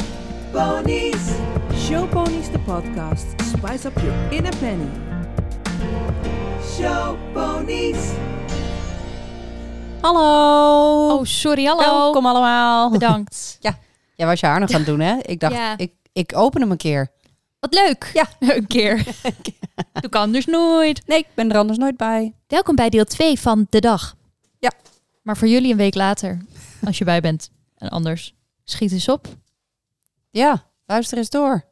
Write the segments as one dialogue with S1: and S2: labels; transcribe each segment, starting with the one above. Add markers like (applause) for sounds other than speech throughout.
S1: Showponies.
S2: Showponies de podcast. Spice up your inner penny.
S1: Showponies.
S3: Hallo.
S4: Oh, sorry, hallo.
S3: Welkom allemaal.
S4: Bedankt.
S3: Jij was je haar nog aan het doen, hè? Ik dacht,
S4: Ja.
S3: ik, ik open hem een keer.
S4: (laughs) Wat leuk.
S3: Ja.
S4: (laughs) Een keer. Doe kan dus nooit.
S3: Nee, ik ben er anders nooit bij.
S4: Welkom bij deel 2 van De Dag.
S3: Ja.
S4: Maar voor jullie een week later, als je bij bent. En anders, schiet eens op.
S3: Ja, luister eens door.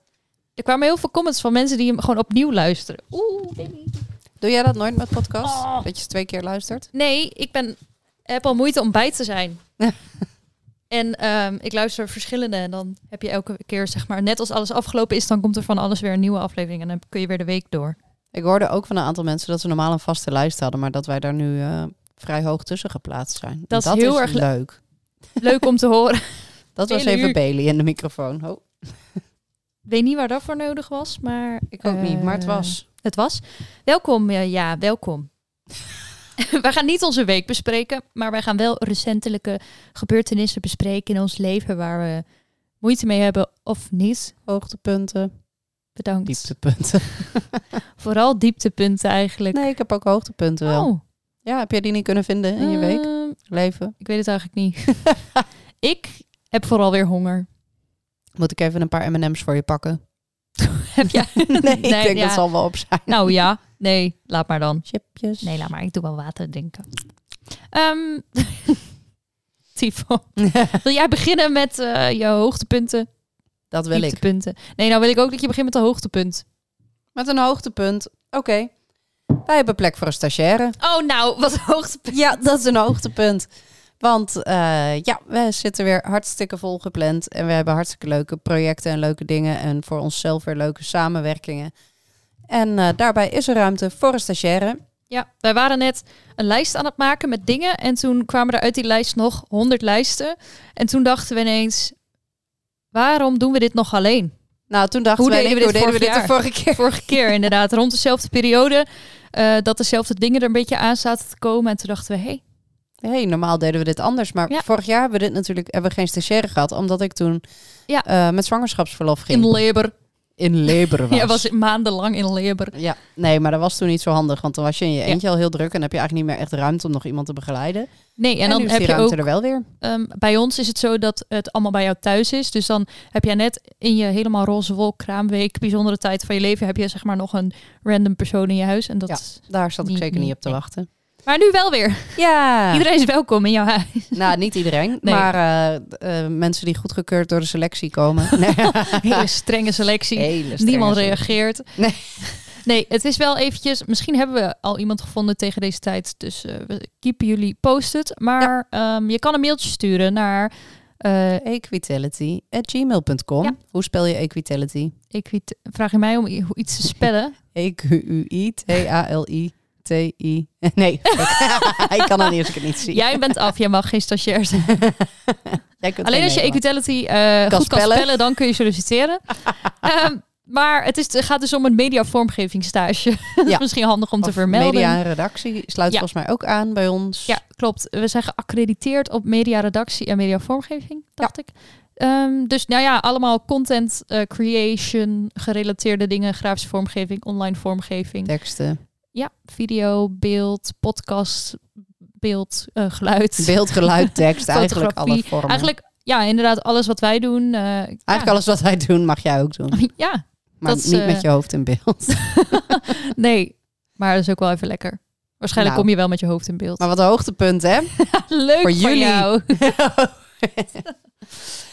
S4: Er kwamen heel veel comments van mensen die hem gewoon opnieuw luisteren. Oeh, baby.
S3: Doe jij dat nooit met podcast?
S4: Oh.
S3: Dat je ze twee keer luistert?
S4: Nee, ik ben, heb al moeite om bij te (laughs) zijn. en ehm, ik luister verschillende. En dan heb je elke keer, zeg maar, net als alles afgelopen is, dan komt er van alles weer een nieuwe aflevering. En dan kun je weer de week door.
S3: Ik hoorde ook van een aantal mensen dat ze normaal een vaste lijst hadden, maar dat wij daar nu eh, vrij hoog tussen geplaatst zijn. En
S4: Dat is heel erg le-
S3: leuk.
S4: Leuk om te horen.
S3: Dat was
S4: Hele
S3: even
S4: uur.
S3: Bailey in de microfoon. Oh,
S4: Ik weet niet waar dat voor nodig was, maar...
S3: ik ook niet, maar het
S4: eh,
S3: was.
S4: Het was. Welkom, eh, ja, welkom. (laughs) wij gaan niet onze week bespreken, maar wij gaan wel recentelijke gebeurtenissen bespreken in ons leven waar we moeite mee hebben of niet.
S3: Hoogtepunten,
S4: Bedankt.
S3: dieptepunten.
S4: Vooral dieptepunten eigenlijk.
S3: Nee, ik heb ook hoogtepunten wel.
S4: Oh,
S3: Ja, heb jij die niet kunnen vinden in je week,
S4: ehm,
S3: leven?
S4: ik weet het eigenlijk niet. (laughs) ik heb vooral weer honger. (laughs)
S3: Moet ik even een paar M&M's voor je pakken?
S4: heb jij?
S3: (laughs) Nee, ik denk
S4: ja.
S3: dat zal wel op zijn.
S4: Nou ja, nee, laat maar dan.
S3: Chipjes.
S4: Nee, laat maar. Ik doe wel water drinken. Ehm (laughs) Tyfo. Wil jij beginnen met eh, je hoogtepunten?
S3: (laughs) dat wil ik.
S4: Dieptepunten. Nee, nou wil ik ook dat je begint met een hoogtepunt.
S3: Met een hoogtepunt. Oké. Wij hebben plek voor een stagiaire.
S4: Oh, nou, wat een hoogtepunt.
S3: (laughs) Ja, dat is een hoogtepunt. Want eh, ja, we zitten weer hartstikke vol gepland. En we hebben hartstikke leuke projecten en leuke dingen. En voor onszelf weer leuke samenwerkingen. En eh, daarbij is er ruimte voor een stagiaire.
S4: Ja, wij waren net een lijst aan het maken met dingen. En toen kwamen er uit die lijst nog 100 lijsten. En toen dachten we ineens, waarom doen we dit nog alleen?
S3: Nou, toen dachten
S4: Hoe
S3: wij,
S4: deden we
S3: hoe
S4: dit
S3: deden we dit
S4: vorig
S3: de vorige keer? (laughs)
S4: Vorige keer (laughs) inderdaad, rond dezelfde periode. eh, dat dezelfde dingen er een beetje aan zaten te komen. En toen dachten we, hé, hey,
S3: hey, normaal deden we dit anders. Maar
S4: Ja.
S3: vorig jaar hebben we dit natuurlijk hebben we geen stagiaire gehad. Omdat ik toen
S4: Ja.
S3: eh, met zwangerschapsverlof ging.
S4: in Leber.
S3: in Leber was.
S4: (laughs) Ja, was maandenlang in Leber.
S3: Ja, nee, maar dat was toen niet zo handig. Want dan was je in je eentje al heel druk en heb je eigenlijk niet meer echt ruimte om nog iemand te begeleiden. En,
S4: Nee, en,
S3: dan
S4: dan
S3: nu is
S4: heb
S3: die
S4: je
S3: ruimte
S4: ook.
S3: er wel weer.
S4: ehm, bij ons is het zo dat het allemaal bij jou thuis is. Dus dan heb jij net in je helemaal roze wolk, kraamweek, bijzondere tijd van je leven. heb je zeg maar nog een random persoon in je huis. En dat
S3: Ja.
S4: is...
S3: Daar zat ik
S4: Niet-
S3: zeker niet
S4: niet-
S3: op te
S4: nee.
S3: wachten.
S4: Maar nu wel weer.
S3: Ja,
S4: (laughs) Iedereen is welkom in jouw
S3: (laughs)
S4: huis.
S3: nou niet iedereen,
S4: Nee.
S3: maar eh, eh, mensen die goedgekeurd door de selectie
S4: (laughs)
S3: komen. Nee.
S4: Hele strenge
S3: (laughs)
S4: selectie. Dus
S3: Hele strenge
S4: Niemand
S3: selectie.
S4: reageert.
S3: (laughs) Nee.
S4: Nee, het is wel eventjes. Misschien hebben we al iemand gevonden tegen deze tijd. Dus eh, we keepen jullie posted. Maar ehm, je kan een mailtje sturen naar eh,
S3: Equitality@gmail.com.
S4: Ja.
S3: Hoe spel je equitality?
S4: Ik weet, vraag je mij om i- hoe iets te
S3: (laughs)
S4: spellen?
S3: E E-Q-U-I-T-A-L-I-T-I. (laughs) Nee, ik- ik kan dan eerst ik het niet zien.
S4: Jij bent af, jij mag geen stagiair zijn.
S3: Jij kunt
S4: Alleen
S3: geen
S4: als je
S3: nee maken.
S4: Equitality eh, goed kan
S3: spellen.
S4: spellen, dan kun je
S3: (laughs)
S4: solliciteren. Ehm, maar het, is, het gaat dus om een media vormgevingsstage. (laughs) Dat
S3: Ja.
S4: is misschien handig om te
S3: Of
S4: vermelden.
S3: Media en redactie sluit
S4: Ja.
S3: volgens mij ook aan bij ons.
S4: Ja, klopt. We zijn geaccrediteerd op mediaredactie en mediavormgeving, dacht ik. Ehm, dus nou ja, allemaal content eh, creation gerelateerde dingen. Grafische vormgeving, online vormgeving.
S3: Teksten,
S4: Ja, video, beeld, podcast, beeld, eh, geluid.
S3: beeld, geluid,
S4: (laughs)
S3: tekst, eigenlijk alle
S4: Fotografie.
S3: vormen.
S4: Eigenlijk, ja, inderdaad, alles wat wij doen. eh,
S3: Eigenlijk alles wat wij doen mag jij ook doen.
S4: ja. (laughs) ja,
S3: Maar
S4: Dat is,
S3: niet
S4: eh,
S3: met je hoofd in beeld.
S4: nee. Maar dat is ook wel even lekker.
S3: Nou.
S4: Waarschijnlijk kom je wel met je hoofd in beeld. (laughs)
S3: Maar wat een hoogtepunt, hè?
S4: leuk
S3: voor
S4: voor
S3: jullie. (laughs)
S4: jou.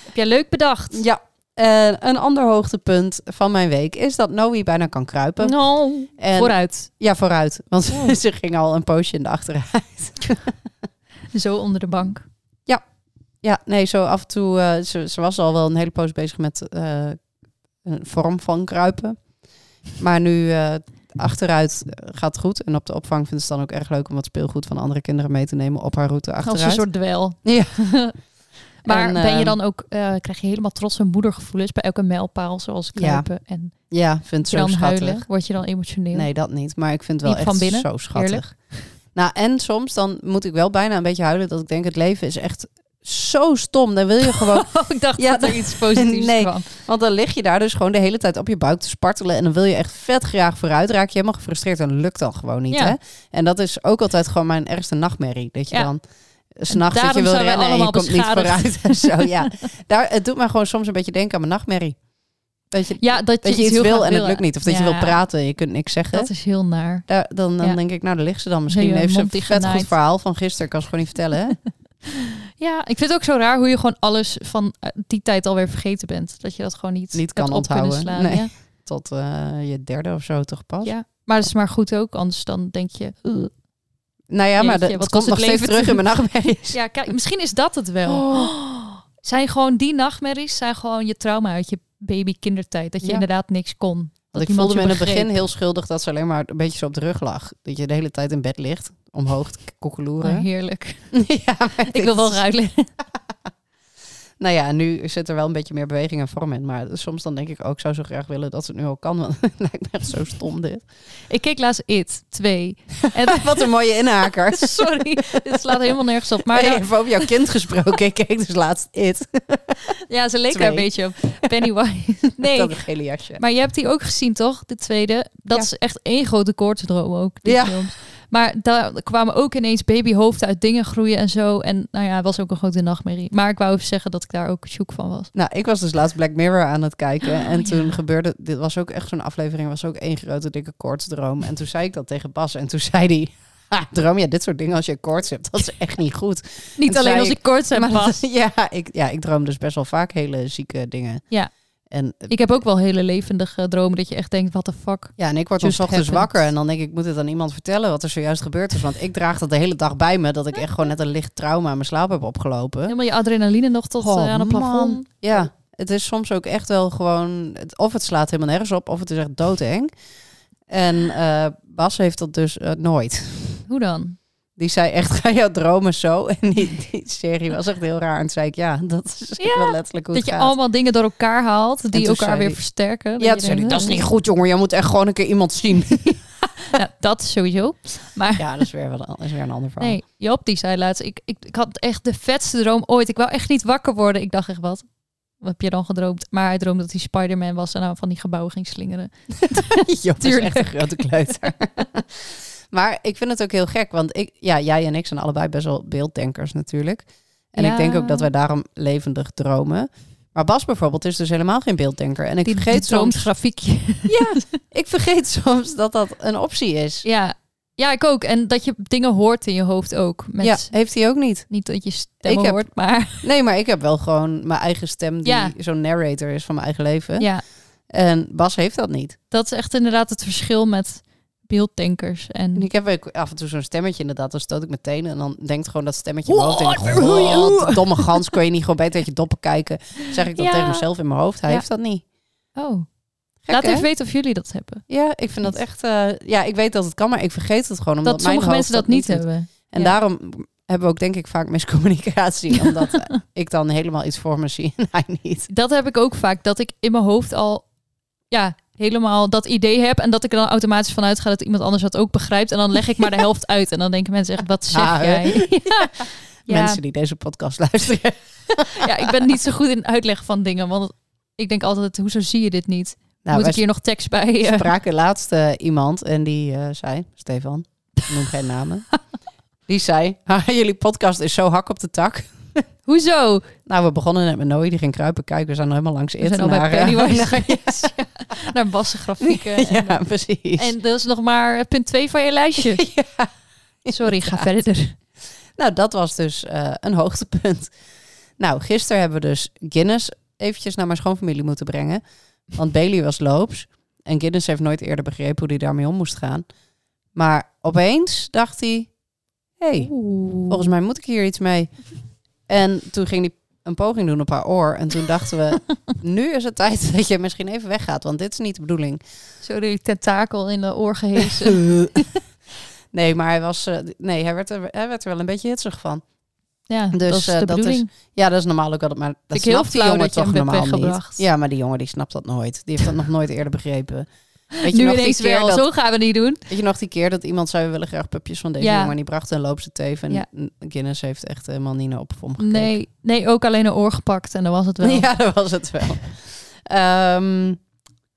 S4: Heb jij leuk bedacht?
S3: ja. Eh, een ander hoogtepunt van mijn week is dat Noe bijna kan kruipen.
S4: Nou,
S3: En-
S4: vooruit. Oh.
S3: Ja, vooruit. Want (laughs) ze ging al een poosje in de achteruit. (laughs)
S4: Zo onder de bank.
S3: Ja, nee, zo af en toe. eh, ze, ze was al wel een hele poos bezig met eh, een vorm van kruipen. Maar nu eh, achteruit gaat goed. En op de opvang vindt ze het dan ook erg leuk om wat speelgoed van andere kinderen mee te nemen op haar route
S4: Als een
S3: achteruit.
S4: soort dwel.
S3: Ja.
S4: (laughs) maar
S3: En,
S4: ben
S3: eh,
S4: je dan ook, eh, krijg je helemaal trots en moedergevoelens bij elke mijlpaal, zoals
S3: Ja.
S4: kruipen en
S3: Ja, vindt ze zo
S4: dan
S3: schattig.
S4: huilen? Word je dan emotioneel?
S3: Nee, dat niet. Maar ik vind het wel
S4: Diep
S3: echt
S4: van binnen,
S3: zo schattig.
S4: eerlijk.
S3: Nou, en soms dan moet ik wel bijna een beetje huilen dat ik denk het leven is echt zo stom. Dan wil je
S4: (laughs)
S3: gewoon...
S4: (laughs) ik dacht
S3: Ja,
S4: dat er iets positiefs
S3: (laughs) nee.
S4: kwam.
S3: Want dan lig je daar dus gewoon de hele tijd op je buik te spartelen. En dan wil je echt vet graag vooruit. Raak je helemaal gefrustreerd en lukt dan gewoon niet.
S4: Ja.
S3: Hè? En dat is ook altijd gewoon mijn ergste nachtmerrie. Dat je
S4: Ja.
S3: dan s'nachts dat je
S4: daarom
S3: wil
S4: zijn we
S3: rennen en je
S4: allemaal
S3: komt niet
S4: beschadigd.
S3: vooruit. En zo,
S4: (laughs)
S3: ja. daar, het doet mij gewoon soms een beetje denken aan mijn nachtmerrie. Dat je,
S4: Ja, dat je,
S3: dat je iets
S4: heel
S3: wil
S4: graag
S3: en het lukt niet. Of dat je
S4: Ja,
S3: wil praten en je kunt niks zeggen.
S4: Dat is heel naar.
S3: Daar, dan dan
S4: Ja.
S3: denk ik, nou, daar ligt ze dan. Misschien
S4: Heel je
S3: heeft ze
S4: mond
S3: een vet
S4: dichtgenaaid.
S3: goed verhaal van gisteren. Ik kan ze gewoon niet vertellen.
S4: (laughs)
S3: Hè?
S4: Ja, ik vind het ook zo raar hoe je gewoon alles van eh, die tijd alweer vergeten bent. Dat je dat gewoon niet,
S3: Niet
S4: hebt
S3: kan
S4: op kunnen
S3: onthouden.
S4: Slaan.
S3: Nee.
S4: Ja.
S3: Tot eh, je derde of zo toch pas.
S4: Ja. Maar dat is maar goed ook, anders dan denk je... "Ugh."
S3: Nou ja, maar dat
S4: Jeetje, wat
S3: het
S4: was
S3: komt
S4: het
S3: nog steeds
S4: leven
S3: terug in
S4: toen?
S3: mijn nachtmerries.
S4: (laughs) Ja, kijk, misschien is dat het wel. (gasps) Zijn gewoon die nachtmerries, zijn gewoon je trauma uit je baby kindertijd. Dat je
S3: Ja.
S4: inderdaad niks kon. Dat
S3: Want ik
S4: niemand
S3: voelde me
S4: je
S3: in het
S4: begreep.
S3: begin heel schuldig dat ze alleen maar een beetje zo op de rug lag. Dat je de hele tijd in bed ligt, omhoog te k-
S4: Oh,
S3: koekeloeren.
S4: heerlijk.
S3: (laughs) ja, maar
S4: Ik
S3: dit
S4: wil wel
S3: is-
S4: ruilen. (laughs)
S3: Nou ja, nu zit er wel een beetje meer beweging en vorm in. Maar soms dan denk ik ook, ik zou zo graag willen dat ze het nu al kan. Want (laughs) het lijkt me echt zo stom dit. (laughs)
S4: Ik keek laatst It 2. En,
S3: Wat een mooie inhaker.
S4: (laughs) sorry, dit slaat helemaal nergens op. Maar
S3: Maar
S4: nou,
S3: even over jouw kind gesproken. Ik keek dus
S4: (laughs)
S3: laatst It.
S4: ja, ze leek
S3: Twee.
S4: daar een beetje op. Pennywise. (laughs) Nee,
S3: Dat een gele jasje.
S4: maar je hebt die ook gezien, toch? De tweede. Dat
S3: Ja.
S4: is echt één grote koortsdroom ook, die
S3: Ja.
S4: films. Maar daar kwamen ook ineens babyhoofden uit dingen groeien en zo. En nou ja, het was ook een grote nachtmerrie. Maar ik wou even zeggen dat ik daar ook shook van was.
S3: Nou, ik was dus laatst Black Mirror aan het kijken.
S4: Oh,
S3: en toen
S4: ja.
S3: gebeurde... Dit was ook echt zo'n aflevering. was ook één grote dikke koortsdroom. En toen zei ik dat tegen Bas. En toen zei hij... (laughs) "Ha, droom je dit soort dingen als je koorts hebt? Dat is echt niet goed.
S4: Niet
S3: zei
S4: alleen als
S3: ik,
S4: ik koorts heb,
S3: Maar dat-
S4: Bas.
S3: (laughs) ja, ik, ja, ik droom dus best wel vaak hele zieke dingen.
S4: Ja.
S3: En,
S4: (laughs) Ik heb ook wel hele levendige dromen dat je echt denkt, wat the fuck.
S3: ja, en ik word dan
S4: Just
S3: 's ochtends
S4: happened.
S3: wakker. En dan denk ik, ik moet het aan iemand vertellen wat er zojuist gebeurd is. Want ik draag dat de hele dag bij me. Dat ik echt gewoon net een licht trauma aan mijn slaap heb opgelopen.
S4: Helemaal je adrenaline nog tot
S3: Oh,
S4: eh, aan het plafond.
S3: man. Ja, het is soms ook echt wel gewoon... Het, of het slaat helemaal nergens op, of het is echt doodeng. En eh, Bas heeft dat dus eh, nooit.
S4: Hoe dan?
S3: Die zei echt, (laughs) ga jouw dromen zo? (laughs) En die, die serie was echt heel raar. En toen zei ik, ja, dat is echt
S4: Ja,
S3: wel letterlijk hoe
S4: dat
S3: het
S4: je
S3: gaat.
S4: allemaal dingen door elkaar haalt die
S3: toen
S4: elkaar
S3: zei
S4: weer
S3: hij-
S4: versterken.
S3: ja,
S4: je
S3: toen zei hij,
S4: denkt,
S3: dat is niet goed, jongen. Je moet echt gewoon een keer iemand zien.
S4: Ja, dat sowieso. Maar
S3: ja, dat is weer, wel, dat is weer een ander verhaal.
S4: nee, Joop die zei laatst, ik, ik, ik had echt de vetste droom ooit. Ik wou echt niet wakker worden. Ik dacht echt, wat? Wat heb je dan gedroomd? Maar hij droomde dat hij Spider-Man was en nou van die gebouwen
S3: (laughs)
S4: ging slingeren. (laughs)
S3: Job is
S4: Tuurlijk.
S3: echt een grote kleuter. (laughs) maar ik vind het ook heel gek, want ik, ja, jij en ik zijn allebei best wel beelddenkers natuurlijk. En
S4: Ja.
S3: ik denk ook dat wij daarom levendig dromen. Maar Bas bijvoorbeeld is dus helemaal geen beelddenker. En ik,
S4: die die
S3: vergeet,
S4: droomt
S3: soms,
S4: grafiekje.
S3: (laughs) ik vergeet soms dat dat een optie is.
S4: (laughs) Ja. ja, ik ook. En dat je dingen hoort in je hoofd ook. Met,
S3: Ja, heeft hij ook niet.
S4: Niet dat je stemmen
S3: Ik heb-
S4: hoort, maar
S3: Nee, maar ik heb wel gewoon mijn eigen stem die
S4: Ja.
S3: zo'n narrator is van mijn eigen leven.
S4: (laughs) ja,
S3: En Bas heeft dat niet.
S4: dat is echt inderdaad het verschil met beelddenkers.
S3: En
S4: En
S3: ik heb ook af en toe zo'n stemmetje inderdaad, dan stoot ik mijn tenen en dan denkt gewoon dat stemmetje in
S1: Oeh,
S3: mijn hoofd. Denk, ik,
S1: oeh, oeh, oeh."
S3: "God, domme gans, kon je niet gewoon beter uit je doppen kijken? Zeg ik dat
S4: Ja.
S3: tegen mezelf in mijn hoofd? Hij
S4: Ja.
S3: heeft dat niet.
S4: oh,
S3: Gek,
S4: laat
S3: hè?
S4: even weten of jullie dat hebben.
S3: Ja, ik vind dat echt. eh, ja, ik weet dat het kan, maar ik vergeet het gewoon omdat
S4: dat
S3: mijn
S4: sommige
S3: hoofd
S4: mensen dat niet
S3: doet.
S4: hebben.
S3: En
S4: ja.
S3: daarom hebben we ook denk ik vaak
S4: (laughs)
S3: miscommunicatie, omdat eh, ik dan helemaal iets voor me zie en hij niet.
S4: Dat heb ik ook vaak, dat ik in mijn hoofd al ja, helemaal dat idee heb. En dat ik er dan automatisch vanuit ga dat iemand anders dat ook begrijpt. En dan leg ik maar de helft uit. En dan denken mensen echt, wat zeg
S3: Ah, hè? (laughs)
S4: jij? ja. Ja.
S3: Mensen die deze podcast
S4: (laughs)
S3: luisteren.
S4: ja, ik ben niet zo goed in uitleg van dingen. Want ik denk altijd, hoezo zie je dit niet?
S3: Nou,
S4: Moet
S3: wij
S4: ik hier nog tekst
S3: (laughs)
S4: bij? eh?
S3: spraken laatst eh, iemand en die eh, zei, Stefan, ik noem geen namen. (laughs) Die zei, "Ha, jullie podcast is zo hak op de tak.
S4: hoezo?
S3: Nou, we begonnen net met Nooi, die ging kruipen kijken. We zijn al helemaal langs eh,
S4: We zijn al bij Pennywise
S3: (laughs)
S4: geweest. (laughs) Ja, Naar bassengrafieken. En,
S3: ja, precies.
S4: en dat is nog maar punt 2 van je lijstje.
S3: (laughs)
S4: Sorry, ga verder.
S3: Nou, dat was dus eh, een hoogtepunt. Nou, gisteren hebben we dus Guinness eventjes naar mijn schoonfamilie moeten brengen. Want Bailey was loops. En Guinness heeft nooit eerder begrepen hoe hij daarmee om moest gaan. Maar opeens dacht hij... hey, volgens mij moet ik hier iets mee. En toen ging hij een poging doen op haar oor. En toen dachten we,
S4: (laughs)
S3: nu is het tijd (laughs) dat je misschien even weggaat. Want dit is niet de bedoeling.
S4: (laughs) Zo die tentakel in de oor gehezen.
S3: nee, maar hij, was, eh, nee, hij, werd er, hij werd er wel een beetje hitsig van.
S4: Ja,
S3: Dus,
S4: dat is
S3: eh,
S4: de
S3: dat is-
S4: bedoeling.
S3: Ja, dat is normaal ook wel. Maar dat
S4: ik heel
S3: snapt die
S4: flauw
S3: jongen
S4: dat je
S3: toch
S4: hem hebt
S3: normaal niet.
S4: weggebracht.
S3: Ja, maar die jongen die snapt dat nooit. Die heeft dat nog nooit eerder begrepen. Weet je
S4: Nu
S3: nog die
S4: ineens
S3: keer
S4: wel,
S3: dat-
S4: zo gaan we niet doen.
S3: Weet je nog die keer dat iemand zei, we willen graag pupjes van deze
S4: Ja.
S3: jongen. En die bracht een loopse teef. En
S4: Ja.
S3: Guinness heeft echt helemaal niet naar op hem gekeken.
S4: Nee, nee, ook alleen een oor gepakt en dan was het wel.
S3: (laughs) Ja, dat was het wel. Ehm,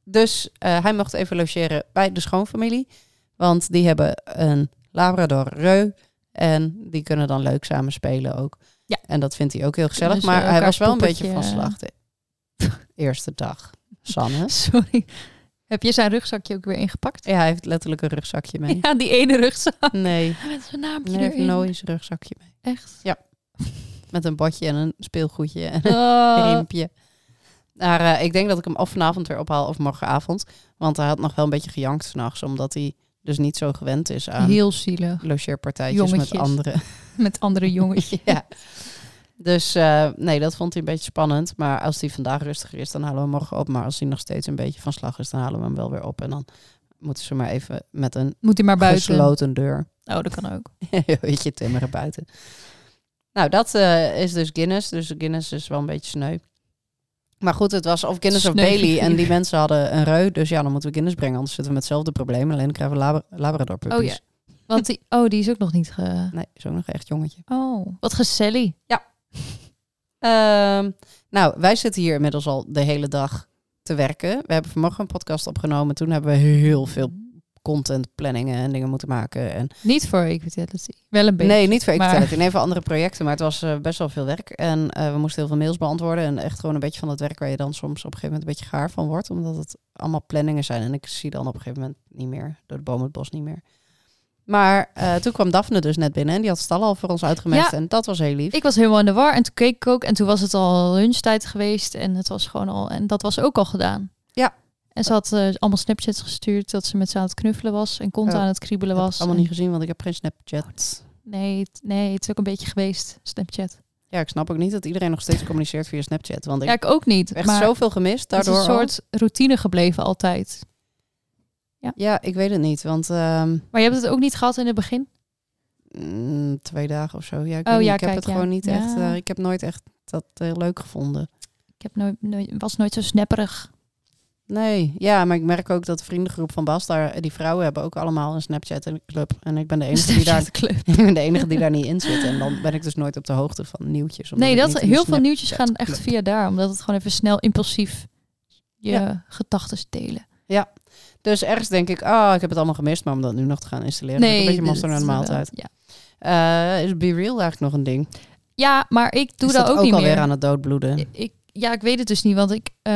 S3: dus eh, hij mocht even logeren bij de schoonfamilie. Want die hebben een Labrador Reu. En die kunnen dan leuk samen spelen ook.
S4: Ja.
S3: En dat vindt hij ook heel gezellig.
S4: Dus, eh,
S3: maar hij
S4: elkaars
S3: was wel een beetje van
S4: poppetje.
S3: slag. de (laughs) Eerste dag. Sanne.
S4: (laughs) Sorry. Heb je zijn rugzakje ook weer ingepakt?
S3: (laughs) Ja, hij heeft letterlijk een rugzakje mee.
S4: Ja, die ene rugzak
S3: Nee,
S4: met zijn naampje
S3: hij heeft
S4: erin.
S3: nooit zijn rugzakje mee.
S4: Echt.
S3: Met een botje en een speelgoedje (laughs) en
S4: (laughs) Oh.
S3: riempje. Maar eh, ik denk dat ik hem of vanavond weer ophaal of morgenavond. Want hij had nog wel een beetje gejankt s'nachts. Omdat hij dus niet zo gewend is aan
S4: (laughs) Heel zielig.
S3: logeerpartijtjes met
S4: Jongetjes.
S3: anderen. (laughs)
S4: Met andere jongetjes.
S3: ja. Dus eh, nee, dat vond hij een beetje spannend. Maar als hij vandaag rustiger is, dan halen we hem morgen op. Maar als hij nog steeds een beetje van slag is, dan halen we hem wel weer op. En dan moeten ze maar even met een
S4: Moet hij maar buiten.
S3: gesloten deur.
S4: Oh, dat kan ook.
S3: (laughs) Weet je, timmeren buiten. Nou, dat eh, is dus Guinness. Dus Guinness is wel een beetje sneu. Maar goed, het was of Guinness of
S4: Sneu
S3: Bailey.
S4: figuur.
S3: En die mensen hadden een reu. Dus ja, dan moeten we Guinness brengen. Anders zitten we met hetzelfde probleem. Alleen krijgen we labra labrador puppies.
S4: Oh ja. Want die, oh, die is ook nog niet ge...
S3: Nee, is ook nog echt jongetje.
S4: Oh, wat gezellig.
S3: Ehm, nou, wij zitten hier inmiddels al de hele dag te werken. We hebben vanmorgen een podcast opgenomen. Toen hebben we heel veel contentplanningen en dingen moeten maken. En
S4: Niet voor equitality. Wel een beetje.
S3: Nee, niet voor
S4: maar-
S3: Equitality. In even andere projecten. Maar het was eh, best wel veel werk. En eh, we moesten heel veel mails beantwoorden. En echt gewoon een beetje van dat werk waar je dan soms op een gegeven moment een beetje gaar van wordt. Omdat het allemaal planningen zijn. En ik zie dan op een gegeven moment niet meer. Door de boom het bos niet meer. Maar eh, toen kwam Daphne dus net binnen. En die had stallen al voor ons uitgemest. En dat was heel lief.
S4: Ik was helemaal in de war en toen keek ik ook. En toen was het al lunchtijd geweest. En het was gewoon al. En dat was ook al gedaan.
S3: Ja.
S4: En ze had eh, allemaal Snapchats gestuurd dat ze met ze aan het knuffelen was. En kont
S3: Oh,
S4: aan het kriebelen
S3: heb
S4: was.
S3: het allemaal
S4: En-
S3: niet gezien, want ik heb geen Snapchat.
S4: nee, het- nee, het is ook een beetje geweest, Snapchat.
S3: Ja, ik snap ook niet dat iedereen nog steeds communiceert via Snapchat. Want ik
S4: Ja, ik ook niet.
S3: heb echt
S4: maar
S3: zoveel gemist daardoor.
S4: het is een
S3: al.
S4: soort routine gebleven altijd.
S3: Ja, ik weet het niet. Want ehm,
S4: Maar je hebt het ook niet gehad in het begin?
S3: Mm, twee dagen of zo. Ja, ik,
S4: Oh
S3: weet niet.
S4: ja,
S3: ik heb
S4: kijk,
S3: het
S4: ja.
S3: gewoon niet
S4: Ja.
S3: echt. eh, ik heb nooit echt dat heel leuk gevonden.
S4: Ik heb nooit, nooit, was nooit zo snapperig.
S3: Nee, ja, maar ik merk ook dat de vriendengroep van Bas daar, eh, die vrouwen hebben ook allemaal een Snapchat-club. En ik ben de enige die daar,
S4: Snapchat-club.
S3: (laughs) ik ben de enige die daar niet in zit. En dan ben ik dus nooit op de hoogte van nieuwtjes. omdat
S4: Nee,
S3: ik
S4: dat,
S3: niet in de
S4: heel veel
S3: Snap-
S4: nieuwtjes gaan echt via daar. Omdat het gewoon even snel impulsief je gedachten delen.
S3: Dus ergens denk ik, ah, ik heb het allemaal gemist, maar om dat nu nog te gaan installeren, nee, een beetje
S4: dat
S3: monster naar de
S4: is wel-
S3: maaltijd.
S4: Ja.
S3: Eh, is Be Real eigenlijk nog een ding?
S4: ja, maar ik doe
S3: is
S4: dat, ook, niet
S3: alweer
S4: meer.
S3: aan het doodbloeden?
S4: Ik, ja, ik weet het dus niet, want ik eh,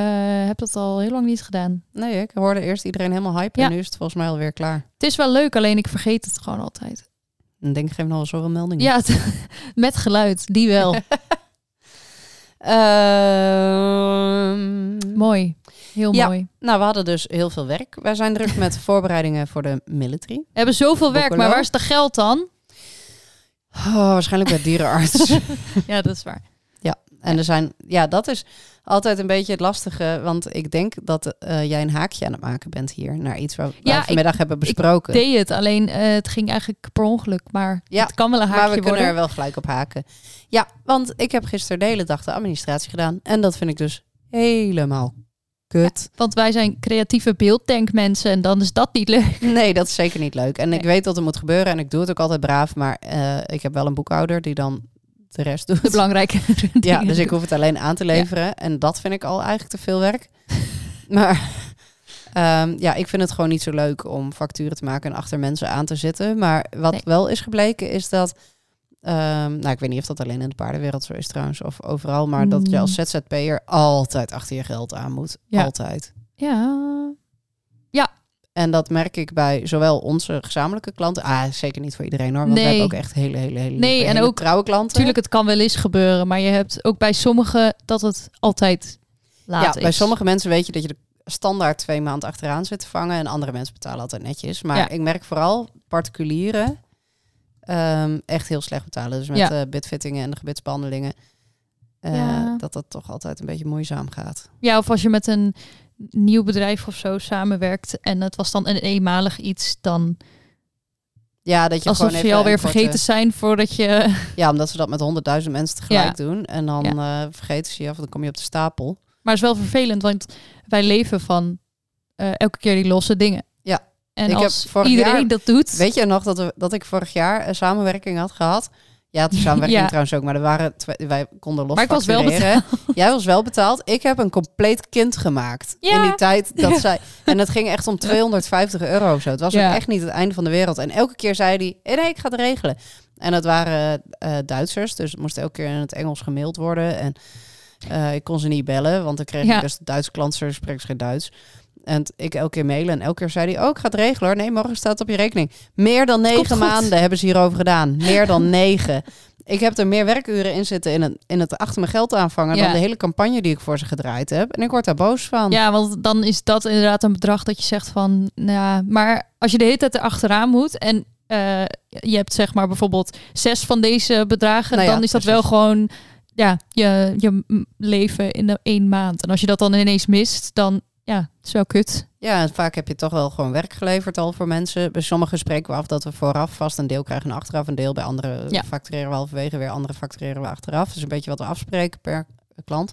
S4: heb dat al heel lang niet gedaan.
S3: Nee, ik hoorde eerst iedereen helemaal hype
S4: Ja.
S3: en nu is het volgens mij alweer klaar.
S4: Het is wel leuk, alleen ik vergeet het gewoon altijd.
S3: Dan denk ik, geef me al zoveel meldingen.
S4: Ja, het- (laughs) met geluid, die
S3: (laughs)
S4: wel.
S3: Ehm,
S4: mooi, heel
S3: Ja.
S4: mooi.
S3: nou, we hadden dus heel veel werk. Wij zijn druk met
S4: (laughs)
S3: voorbereidingen voor de military.
S4: We hebben zoveel werk,
S3: Bokkelo.
S4: maar waar is de geld
S3: (laughs)
S4: dan?
S3: Oh, waarschijnlijk bij dierenarts.
S4: Ja, dat is waar.
S3: (laughs) en er zijn, ja, dat is altijd een beetje het lastige. Want ik denk dat eh, jij een haakje aan het maken bent hier naar iets wat we
S4: Ja, ik-
S3: vanmiddag hebben besproken.
S4: Deed het, alleen eh, het ging eigenlijk per ongeluk, maar
S3: Ja,
S4: het kan wel een haakje
S3: maar we kunnen er
S4: worden.
S3: wel gelijk op haken. Ja, want ik heb gisteren de hele dag de administratie gedaan. En dat vind ik dus helemaal kut.
S4: Want wij zijn creatieve beeldtankmensen en dan is dat niet leuk.
S3: (laughs) Nee, dat is zeker niet leuk. En ik
S4: Nee.
S3: weet dat er moet gebeuren en ik doe het ook altijd braaf. Maar eh, ik heb wel een boekhouder die dan de rest
S4: De
S3: doet.
S4: belangrijke
S3: Ja,
S4: (laughs) dingen
S3: dus
S4: doen.
S3: ik hoef het alleen aan te leveren. En dat vind ik al eigenlijk te veel werk. (laughs) Maar ehm, ja, ik vind het gewoon niet zo leuk om facturen te maken en achter mensen aan te zitten. Maar wat
S4: Nee.
S3: wel is gebleken is dat... ehm, nou, ik weet niet of dat alleen in de paardenwereld zo is trouwens of overal. Maar dat je
S4: Mm.
S3: als ZZP'er altijd achter je geld aan moet.
S4: Ja.
S3: Altijd.
S4: Ja,
S3: En dat merk ik bij zowel onze gezamenlijke klanten. Ah, zeker niet voor iedereen hoor. Want we
S4: Nee.
S3: hebben ook echt hele, hele, hele,
S4: Nee,
S3: lieve,
S4: en
S3: hele
S4: ook-
S3: trouwe klanten.
S4: Tuurlijk, het kan wel eens gebeuren, maar je hebt ook bij sommigen dat het altijd laat
S3: ja,
S4: is.
S3: bij sommige mensen weet je dat je de standaard twee maanden achteraan zit te vangen. En andere mensen betalen altijd netjes. Maar
S4: Ja.
S3: ik merk vooral particulieren ehm, echt heel slecht betalen. Dus met
S4: Ja.
S3: de bidfittingen en de gebitsbehandelingen. eh,
S4: Ja.
S3: Dat dat toch altijd een beetje moeizaam gaat.
S4: Ja, of als je met een nieuw bedrijf of zo samenwerkt en het was dan een eenmalig iets, dan
S3: Ja, dat je
S4: alsof
S3: gewoon
S4: je
S3: even
S4: alweer
S3: een korte-
S4: vergeten zijn voordat je... (laughs)
S3: Ja, omdat ze dat met honderdduizend mensen tegelijk doen. En dan eh, vergeten ze je af, dan kom je op de stapel.
S4: Maar het is wel vervelend, want wij leven van eh, elke keer die losse dingen.
S3: Ja.
S4: En
S3: Ik
S4: als
S3: heb vorig
S4: iedereen
S3: jaar-
S4: dat doet,
S3: Weet je nog dat, we, dat ik vorig jaar een samenwerking had gehad? Ja, de samenwerking
S4: (laughs) Ja.
S3: trouwens ook, maar er waren twee- wij konden los
S4: Maar ik was wel
S3: factureren. (laughs) Jij was wel betaald. Ik heb een compleet kind gemaakt in
S4: Ja.
S3: die tijd dat
S4: (laughs) Ja.
S3: zij en het ging echt om 250 euro of zo. Het was ook
S4: Ja.
S3: echt niet het einde van de wereld. En elke keer zei hij: "Eh, nee, ik ga het regelen." En dat waren eh, Duitsers, dus het moest elke keer in het Engels gemaild worden en eh, ik kon ze niet bellen, want dan kreeg
S4: Ja.
S3: ik dus de Duitse klant, ze spreekt geen Duits. En t- ik elke keer mailen en elke keer zei hij... oh, ik ga het regelen hoor. Nee, morgen staat het op je rekening. Meer dan
S4: Komt
S3: negen
S4: goed.
S3: maanden hebben ze hierover gedaan. Meer dan (laughs) negen. Ik heb er meer werkuren in zitten in het, in het achter mijn geld aanvangen... dan
S4: Ja.
S3: de hele campagne die ik voor ze gedraaid heb. En ik word daar boos van.
S4: ja, want dan is dat inderdaad een bedrag dat je zegt van, nou ja, maar als je de hele tijd erachteraan moet en eh, je hebt zeg maar bijvoorbeeld zes van deze bedragen,
S3: Nou ja,
S4: dan is dat
S3: precies.
S4: wel gewoon, ja, je, je m- leven in de één maand. En als je dat dan ineens mist, dan, ja, het is wel kut.
S3: Ja, en vaak heb je toch wel gewoon werk geleverd al voor mensen. Bij sommigen spreken we af dat we vooraf vast een deel krijgen en achteraf een deel. Bij anderen
S4: Ja.
S3: factureren we halverwege weer, andere factureren we achteraf. Dus een beetje wat we afspreken per klant.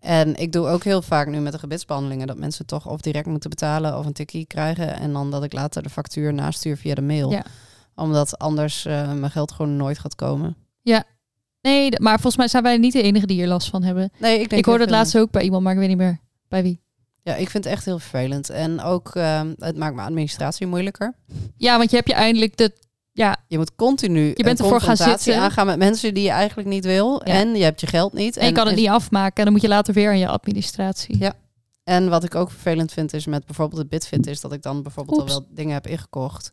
S3: En ik doe ook heel vaak nu met de gebedsbehandelingen dat mensen toch of direct moeten betalen of een tikkie krijgen. En dan dat ik later de factuur nastuur via de mail.
S4: Ja.
S3: Omdat anders eh, mijn geld gewoon nooit gaat komen.
S4: Nee, d- maar volgens mij zijn wij niet de enige die hier last van hebben.
S3: Nee, ik, denk
S4: ik hoorde
S3: heel
S4: het
S3: veel
S4: laatst ook bij iemand, maar ik weet niet meer bij wie.
S3: mensen. Ja, ik vind het echt heel vervelend. En ook, eh, het maakt mijn administratie moeilijker.
S4: Ja, want je hebt je eindelijk de, ja,
S3: Je moet continu
S4: Je bent
S3: een
S4: ervoor gaan
S3: confrontatie
S4: zitten.
S3: aangaan met mensen die je eigenlijk niet wil.
S4: Ja.
S3: En je hebt je geld niet.
S4: en je kan het niet afmaken en dan moet je later weer aan je administratie.
S3: Ja. En wat ik ook vervelend vind is met bijvoorbeeld het Bitfit is dat ik dan bijvoorbeeld
S4: Oeps.
S3: al wel dingen heb ingekocht.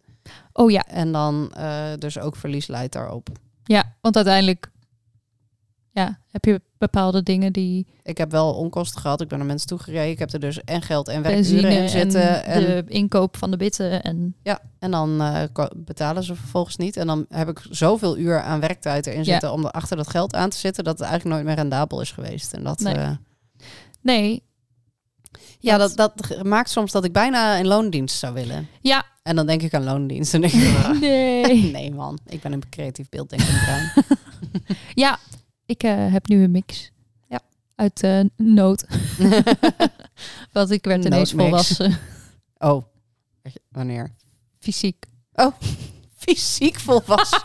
S4: Oh ja,
S3: En dan eh, dus ook verlies leidt daarop.
S4: ja, want uiteindelijk ja, heb je bepaalde dingen die
S3: Ik heb wel onkosten gehad. Ik ben naar mensen toegereden. Ik heb er dus en geld en werkuren
S4: benzine
S3: in zitten.
S4: en
S3: En,
S4: de inkoop van de bitten en
S3: ja, en dan eh, ko- betalen ze vervolgens niet. En dan heb ik zoveel uur aan werktijd erin
S4: Ja.
S3: zitten om er achter dat geld aan te zitten dat het eigenlijk nooit meer rendabel is geweest. En dat,
S4: Nee.
S3: eh,
S4: nee,
S3: Ja, dat,
S4: Want-
S3: dat ge- maakt soms dat ik bijna in loondienst zou willen. (laughs)
S4: Ja. (laughs)
S3: En dan denk ik aan loondienst (laughs) en denk ik, "Ah,
S4: nee.
S3: nee man, ik ben een creatief beelddenkend brein.
S4: ja, ik eh, heb nu een mix.
S3: Ja.
S4: Uit eh, nood. Want ik werd ineens
S3: Noodmix.
S4: volwassen,
S3: (laughs)
S4: (laughs)
S3: Oh, wanneer? (laughs)
S4: fysiek.
S3: Fysiek (laughs) volwassen.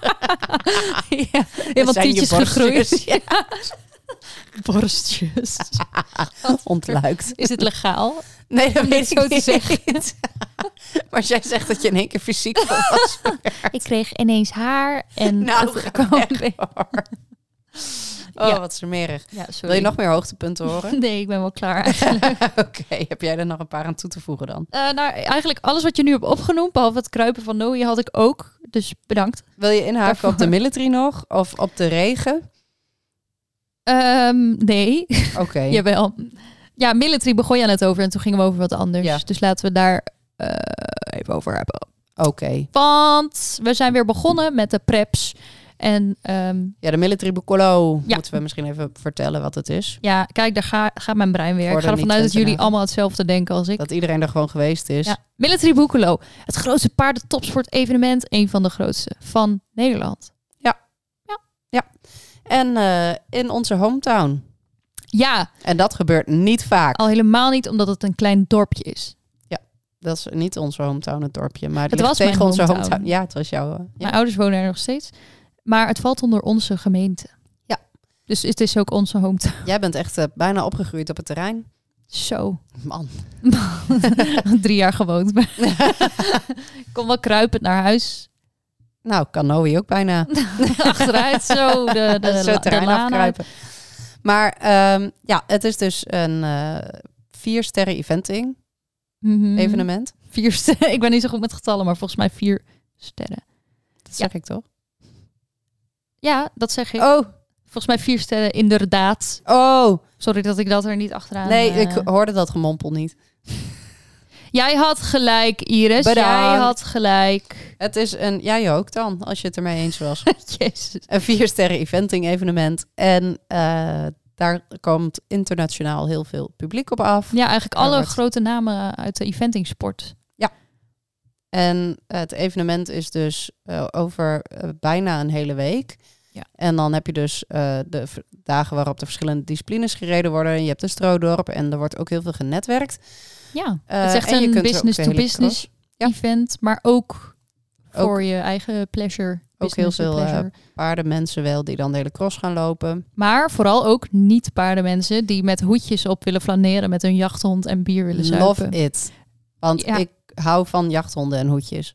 S4: ja, ja, want
S3: Zijn je
S4: tietjes
S3: borstjes, (laughs)
S4: gegroeid.
S3: ja.
S4: Ja.
S3: (laughs)
S4: Borstjes.
S3: Ontluikt.
S4: Is het legaal?
S3: Nee, (laughs) dat
S4: Om
S3: weet
S4: dit zo
S3: ik
S4: te
S3: niet.
S4: zeggen.
S3: maar jij zegt dat je in één keer (laughs) fysiek volwassen
S4: Ik kreeg ineens haar en
S3: Nou,
S4: het
S3: ga
S4: kwam
S3: weg,
S4: weer-
S3: wordt. Oh,
S4: Ja.
S3: wat smerig.
S4: Ja, sorry.
S3: Wil je nog meer hoogtepunten (laughs) horen?
S4: (laughs) Nee, ik ben wel klaar.
S3: Oké, heb jij er nog een paar aan toe te voegen dan?
S4: Eh, nou, eigenlijk alles wat je nu hebt opgenoemd, behalve het kruipen van Noe, had ik ook. Dus bedankt.
S3: Wil je inhaken op de
S4: Daarvoor.
S3: military nog? Of op de regen?
S4: Ehm, nee, (laughs)
S3: Oké.
S4: jawel. Ja, military begon je aan het over en toen gingen we over wat anders.
S3: Ja.
S4: Dus laten we daar eh, even over hebben.
S3: Oké.
S4: Want we zijn weer begonnen met de preps. En ehm,
S3: Ja, de military bucolo.
S4: Ja.
S3: Moeten we misschien even vertellen wat het is.
S4: ja, kijk, daar ga- gaat mijn brein weer.
S3: Voor
S4: Ik
S3: de
S4: ga ervan uit dat jullie
S3: niet-Twentena.
S4: allemaal hetzelfde denken als ik.
S3: Dat iedereen er gewoon geweest is.
S4: Ja. Military Boekelo, het grootste paardentopsport evenement, een van de grootste van Nederland.
S3: En eh, in onze hometown.
S4: Ja,
S3: En dat gebeurt niet vaak.
S4: al helemaal niet omdat het een klein dorpje is.
S3: Dat is niet onze hometown, het dorpje. Maar het,
S4: Het
S3: ligt
S4: was
S3: tegen
S4: mijn
S3: onze
S4: hometown.
S3: Ja, het was jouw. eh, ja.
S4: Mijn ouders wonen er nog steeds, maar het valt onder onze gemeente.
S3: Ja.
S4: Dus het is ook onze hometown.
S3: Jij bent echt eh, bijna opgegroeid op het terrein.
S4: Zo. (laughs)
S3: Man.
S4: Drie jaar gewoond. (laughs) maar Ik kom wel kruipend
S3: (laughs)
S4: naar huis.
S3: Nou, kan Noe ook bijna.
S4: (laughs) Achteruit zo. De,
S3: (laughs)
S4: de,
S3: zo
S4: la-
S3: het
S4: de
S3: terrein
S4: laan uit.
S3: afkruipen. Maar ehm, ja, het is dus een eh vier sterren eventing
S4: Mhm.
S3: evenement.
S4: Vier sterren. (laughs) Ik ben niet zo goed met getallen, maar volgens mij vier sterren.
S3: Dat zeg ik toch?
S4: Ja, dat zeg ik.
S3: Oh,
S4: Volgens mij vier sterren inderdaad.
S3: oh.
S4: Sorry dat ik dat er niet achteraan...
S3: Nee,
S4: eh,
S3: ik hoorde dat gemompel niet.
S4: Jij had gelijk, Iris. Jij
S3: Bedankt.
S4: had
S3: (laughs)
S4: gelijk.
S3: Het is een, jij ook dan, als je het ermee eens was. (laughs)
S4: Jezus.
S3: een viersterren eventing evenement. En eh, daar komt internationaal heel veel publiek op af.
S4: Ja, eigenlijk
S3: Ja,
S4: alle
S3: wordt-
S4: grote namen uit de eventing sport.
S3: En het evenement is dus eh, over eh, bijna een hele week.
S4: Ja.
S3: En dan heb je dus eh, de, v- dagen waarop er verschillende disciplines gereden worden. En je hebt een stroodorp en er wordt ook heel veel genetwerkt.
S4: Ja,
S3: Eh,
S4: het is echt
S3: en je
S4: een
S3: kunt er ook
S4: business-to-business
S3: Ja.
S4: event, maar ook
S3: Ook-
S4: voor je eigen pleasure.
S3: Ook
S4: business
S3: heel
S4: to
S3: veel, eh,
S4: pleasure.
S3: Paarden, mensen wel, die dan de hele cross gaan lopen.
S4: maar vooral ook niet paardenmensen die met hoedjes op willen flaneren met hun jachthond en bier willen
S3: Love
S4: zuipen.
S3: it. Want
S4: Ja.
S3: ik hou van jachthonden en hoedjes.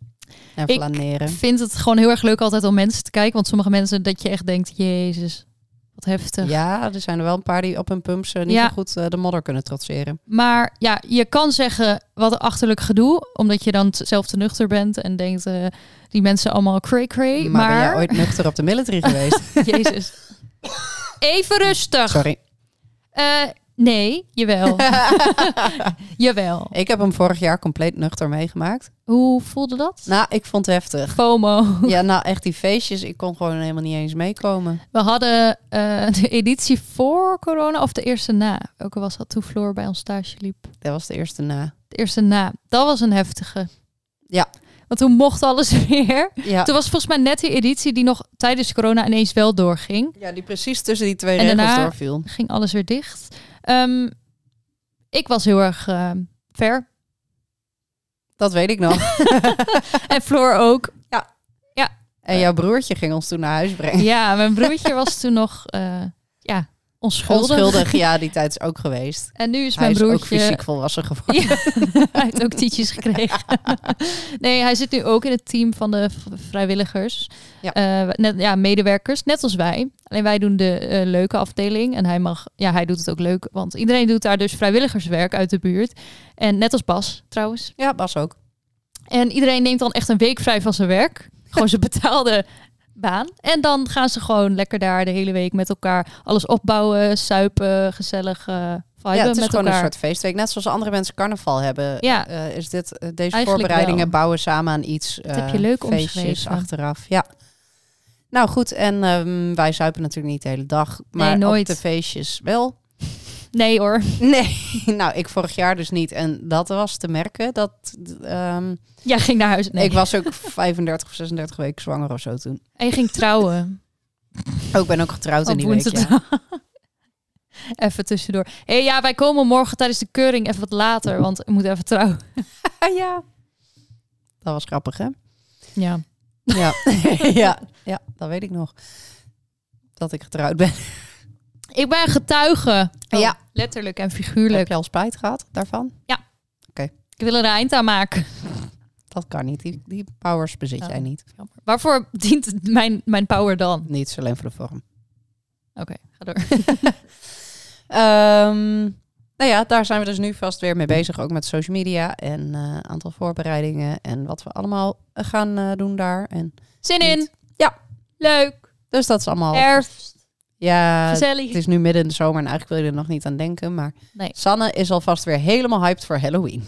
S3: En
S4: Ik-
S3: flaneren.
S4: Ik vind het gewoon heel erg leuk altijd om mensen te kijken, want sommige mensen dat je echt denkt, jezus, wat heftig.
S3: Ja, er zijn er wel een paar die op hun pumps eh, niet
S4: Ja.
S3: zo goed eh, de modder kunnen trotseren.
S4: Maar ja, je kan zeggen wat een achterlijk gedoe, omdat je dan t- zelf te nuchter bent en denkt, eh, die mensen allemaal cray-cray.
S3: maar,
S4: Maar,
S3: ben jij ooit nuchter op de
S4: (laughs)
S3: military geweest?
S4: jezus. Even rustig.
S3: Sorry. (laughs)
S4: Eh, nee, jawel. jawel.
S3: Ik heb hem vorig jaar compleet nuchter meegemaakt.
S4: Hoe voelde dat?
S3: Nou, ik vond het heftig.
S4: FOMO.
S3: Ja, nou echt die feestjes. Ik kon gewoon helemaal niet eens meekomen.
S4: We hadden eh, de editie voor corona of de eerste na. Welke was dat toen Floor bij ons stage liep?
S3: Dat was de eerste na.
S4: De eerste na. Dat was een heftige.
S3: Ja.
S4: Want toen mocht alles (laughs) weer.
S3: Ja,
S4: Toen was volgens mij net die editie die nog tijdens corona ineens wel doorging.
S3: ja die precies tussen die twee
S4: En
S3: regels
S4: daarna-
S3: doorviel.
S4: ging alles weer dicht. Ehm, ik was heel erg ehm, ver.
S3: Dat weet ik nog.
S4: En Floor
S3: (laughs)
S4: ook.
S3: En jouw broertje ging ons toen naar huis brengen.
S4: Ja, mijn broertje was toen nog eh, ja, onschuldig.
S3: Onschuldig, ja, die tijd is ook geweest.
S4: En nu is
S3: Hij
S4: mijn
S3: is ook
S4: broertje...
S3: fysiek volwassen geworden.
S4: (laughs) Ja, hij heeft ook tietjes gekregen. (laughs) nee, hij zit nu ook in het team van de v- vrijwilligers.
S3: Ja.
S4: Eh, net, ja, medewerkers, net als wij. Alleen wij doen de eh, leuke afdeling. En hij mag, ja, hij doet het ook leuk. Want iedereen doet daar dus vrijwilligerswerk uit de buurt. En net als Bas, trouwens.
S3: Ja, Bas ook.
S4: Oh, En iedereen neemt dan echt een week vrij van zijn werk. Gewoon zijn betaalde baan. En dan gaan ze gewoon lekker daar de hele week met elkaar alles opbouwen, suipen, gezellig eh viben
S3: Ja, het is
S4: met
S3: gewoon
S4: elkaar.
S3: een soort feestweek. Net zoals andere mensen carnaval hebben.
S4: Ja.
S3: eh, is dit, eh, deze voorbereidingen
S4: voorbereidingen
S3: bouwen samen aan iets. Dat
S4: heb je leuk
S3: feestjes
S4: omschreven.
S3: achteraf. Ja. Nou goed, en ehm, wij zuipen natuurlijk niet de hele dag. Maar
S4: nooit.
S3: op de feestjes wel. (laughs)
S4: Nee hoor.
S3: Nee, nou ik vorig jaar dus niet. En dat was te merken. Dat, ehm,
S4: Jij ging naar huis. Nee.
S3: Ik was ook 35 of 36 weken zwanger of zo toen.
S4: En je ging trouwen.
S3: Oh, ik ben ook getrouwd in
S4: Op
S3: die week. ja.
S4: woensdag. (laughs) Even tussendoor. hey, ja, wij komen morgen tijdens de keuring even wat later, want we moeten even trouwen. (laughs)
S3: Ah, ja. Dat was grappig, hè?
S4: Ja.
S3: Ja.
S4: (laughs)
S3: ja. ja, dat weet ik nog. Dat ik getrouwd ben.
S4: Ik ben getuige. Oh,
S3: Ja.
S4: Letterlijk en
S3: Heb
S4: figuurlijk.
S3: je al spijt gehad daarvan?
S4: Ik wil er een eind aan maken.
S3: Dat kan niet. Die, die powers bezit
S4: Oh.
S3: jij niet.
S4: Waarvoor dient mijn, mijn power dan?
S3: Niet is alleen voor de vorm. (laughs)
S4: Oké, ga door. (laughs)
S3: Ehm, nou ja, daar zijn we dus nu vast weer mee bezig. Ook met social media en eh, een aantal voorbereidingen. En wat we allemaal eh, gaan eh, doen daar. En,
S4: Zin in.
S3: Ja.
S4: Leuk.
S3: dus dat is allemaal...
S4: Herfst.
S3: ja,
S4: Gezellig.
S3: Het is nu midden in de zomer en eigenlijk wil je er nog niet aan denken. Maar
S4: Nee.
S3: Sanne is alvast weer helemaal hyped voor Halloween.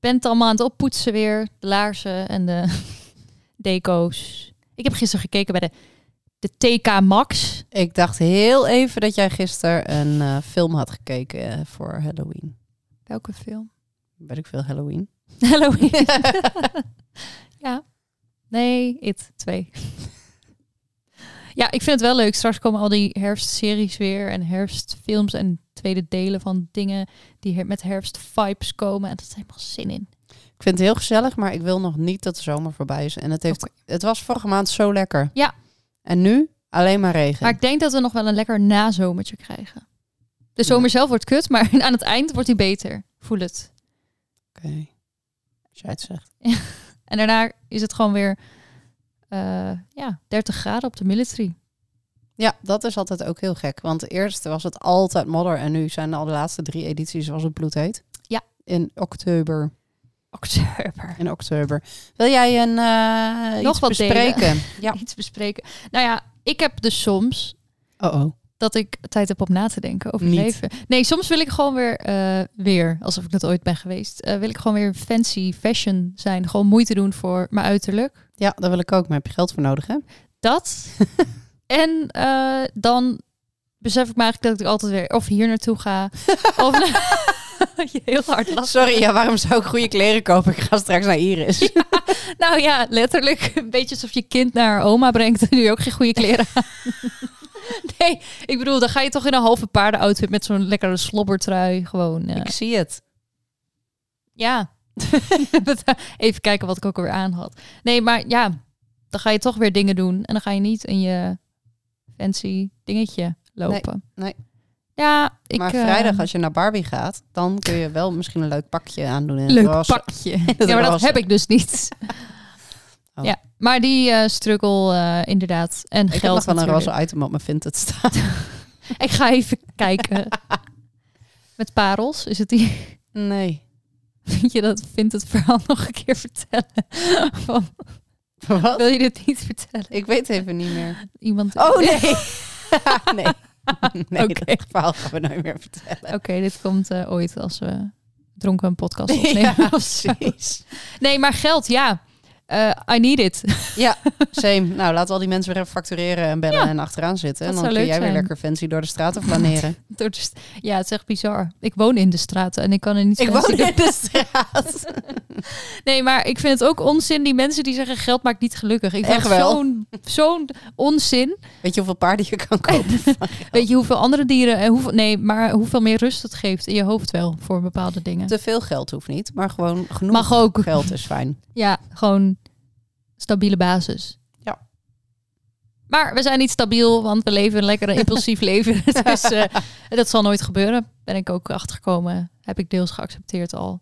S4: ben het allemaal aan het oppoetsen weer. De laarzen en de (laughs) deco's. Ik heb gisteren gekeken bij de, de TK Max.
S3: Ik dacht heel even dat jij gisteren een eh, film had gekeken eh, voor Halloween.
S4: Welke film?
S3: Weet ik veel, Halloween.
S4: (laughs) Halloween. (laughs) ja. Nee, It 2. (laughs) ja, ik vind het wel leuk. Straks komen al die herfstseries weer. En herfstfilms en tweede delen van dingen die her- met herfstvibes komen. En dat is helemaal zin in.
S3: Ik vind het heel gezellig, maar ik wil nog niet dat de zomer voorbij is. En het, heeft, het was vorige maand zo lekker.
S4: Ja.
S3: En nu alleen maar regen.
S4: Maar ik denk dat we nog wel een lekker nazomertje krijgen. De zomer zelf wordt kut, maar (laughs) aan het eind wordt hij beter. Voel het.
S3: Oké. Als jij het zegt.
S4: En daarna is het gewoon weer eh, ja, 30 graden op de military.
S3: Ja, dat is altijd ook heel gek. Want eerst was het altijd modder. En nu zijn al de laatste drie edities was het bloedheet.
S4: Ja.
S3: In oktober.
S4: Oktober.
S3: in oktober. Wil jij een eh
S4: Nog
S3: iets
S4: wat
S3: bespreken?
S4: (laughs)
S3: Ja.
S4: Iets bespreken. Nou ja, ik heb dus soms
S3: Oh oh.
S4: dat ik tijd heb om na te denken over
S3: Niet.
S4: het leven. Nee, soms wil ik gewoon weer, eh, weer alsof ik dat ooit ben geweest, eh, wil ik gewoon weer fancy fashion zijn. Gewoon moeite doen voor mijn uiterlijk.
S3: Ja, daar wil ik ook. Maar heb je geld voor nodig, hè?
S4: Dat. en eh, dan besef ik me eigenlijk dat ik altijd weer of hier naartoe ga. of je (laughs) heel hard lacht.
S3: Oh, Sorry, ja, waarom zou ik goede kleren kopen? Ik ga straks naar Iris.
S4: Nou (laughs)
S3: (laughs)
S4: ja, letterlijk. Een beetje alsof je kind naar haar oma brengt en nu ook geen goede kleren aan. Nee, ik bedoel, dan ga je toch in een halve paardenoutfit met zo'n lekkere slobbertrui. Gewoon, eh,
S3: Ik zie het.
S4: ja. (laughs) eh, Even kijken wat ik ook alweer aan had. Nee, maar ja, dan ga je toch weer dingen doen. En dan ga je niet in je fancy dingetje lopen.
S3: nee.
S4: Ja, ik...
S3: maar
S4: eh,
S3: vrijdag als je naar Barbie gaat, dan kun je wel misschien een leuk pakje aandoen. En
S4: Leuk
S3: roze. (laughs)
S4: pakje. Ja, maar dat
S3: roze.
S4: heb ik dus
S3: (laughs)
S4: niet.
S3: Oh.
S4: Ja, maar die eh, struggle eh, inderdaad. En
S3: Ik heb
S4: geld
S3: nog wel een
S4: natuurlijk.
S3: roze item op mijn Vinted staan. (laughs)
S4: Ik ga even kijken. Met parels, is het die? (laughs)
S3: Nee.
S4: Vind je dat? Vindt het verhaal (laughs) nog een keer vertellen? Van,
S3: Wat?
S4: wil je dit niet vertellen?
S3: Ik weet even niet meer.
S4: Iemand.
S3: Oh nee. (laughs)
S4: (laughs)
S3: nee. Nee,
S4: Oké.
S3: dat verhaal gaan we nooit meer vertellen.
S4: (laughs) Oké, dit komt eh, ooit als we dronken een podcast opnemen.
S3: (laughs) Ja,
S4: of zo. Nee, maar geld, ja. Eh, I need it. (laughs)
S3: Same. Nou, laten we al die mensen weer even factureren en bellen
S4: Ja.
S3: en achteraan zitten.
S4: Dat
S3: en dan
S4: zou
S3: kun
S4: leuk
S3: jij weer
S4: zijn.
S3: lekker fancy door de straten
S4: (laughs)
S3: flaneren.
S4: Door de st- ja, het is echt bizar. Ik woon in de straten en ik kan er niet
S3: ik
S4: fancy
S3: woon
S4: doen.
S3: in de straat.
S4: Nee, maar ik vind het ook onzin, die mensen die zeggen geld maakt niet gelukkig. Ik vind
S3: Echt wel.
S4: zo'n zo'n onzin.
S3: (laughs) Weet je hoeveel paarden je kan
S4: (laughs)
S3: kopen?
S4: Weet je hoeveel andere dieren en hoeveel, nee, maar hoeveel meer rust het geeft in je hoofd wel voor bepaalde dingen.
S3: Te veel geld hoeft niet, maar gewoon genoeg
S4: Mag ook.
S3: geld is fijn.
S4: Ja, gewoon stabiele basis.
S3: Ja.
S4: Maar we zijn niet stabiel, want we leven een lekker
S3: (laughs)
S4: impulsief leven. (laughs) Dus eh, dat zal nooit gebeuren. Ben ik ook achtergekomen. Heb ik deels geaccepteerd al.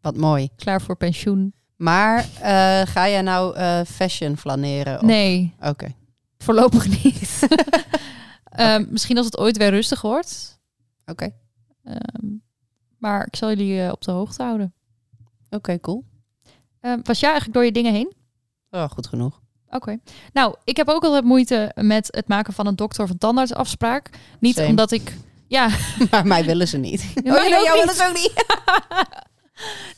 S3: Wat mooi.
S4: Klaar voor pensioen.
S3: Maar eh, ga jij nou eh, fashion flaneren? Of-
S4: Nee,
S3: Oké.
S4: voorlopig niet. (laughs)
S3: (laughs)
S4: Ehm, Misschien als het ooit weer rustig wordt.
S3: Oké.
S4: Ehm, maar ik zal jullie eh, op de hoogte houden.
S3: Oké, cool.
S4: Ehm, was jij eigenlijk door je dingen heen?
S3: Oh, goed genoeg. (laughs)
S4: Oké. Nou, ik heb ook altijd moeite met het maken van een dokter van tandartsafspraak. Niet
S3: Same. Oh,
S4: omdat ik.
S3: (laughs)
S4: Ja, (laughs)
S3: Maar mij willen ze niet.
S4: maar
S3: nee,
S4: ik ook
S3: jou
S4: niet.
S3: willen ze ook niet.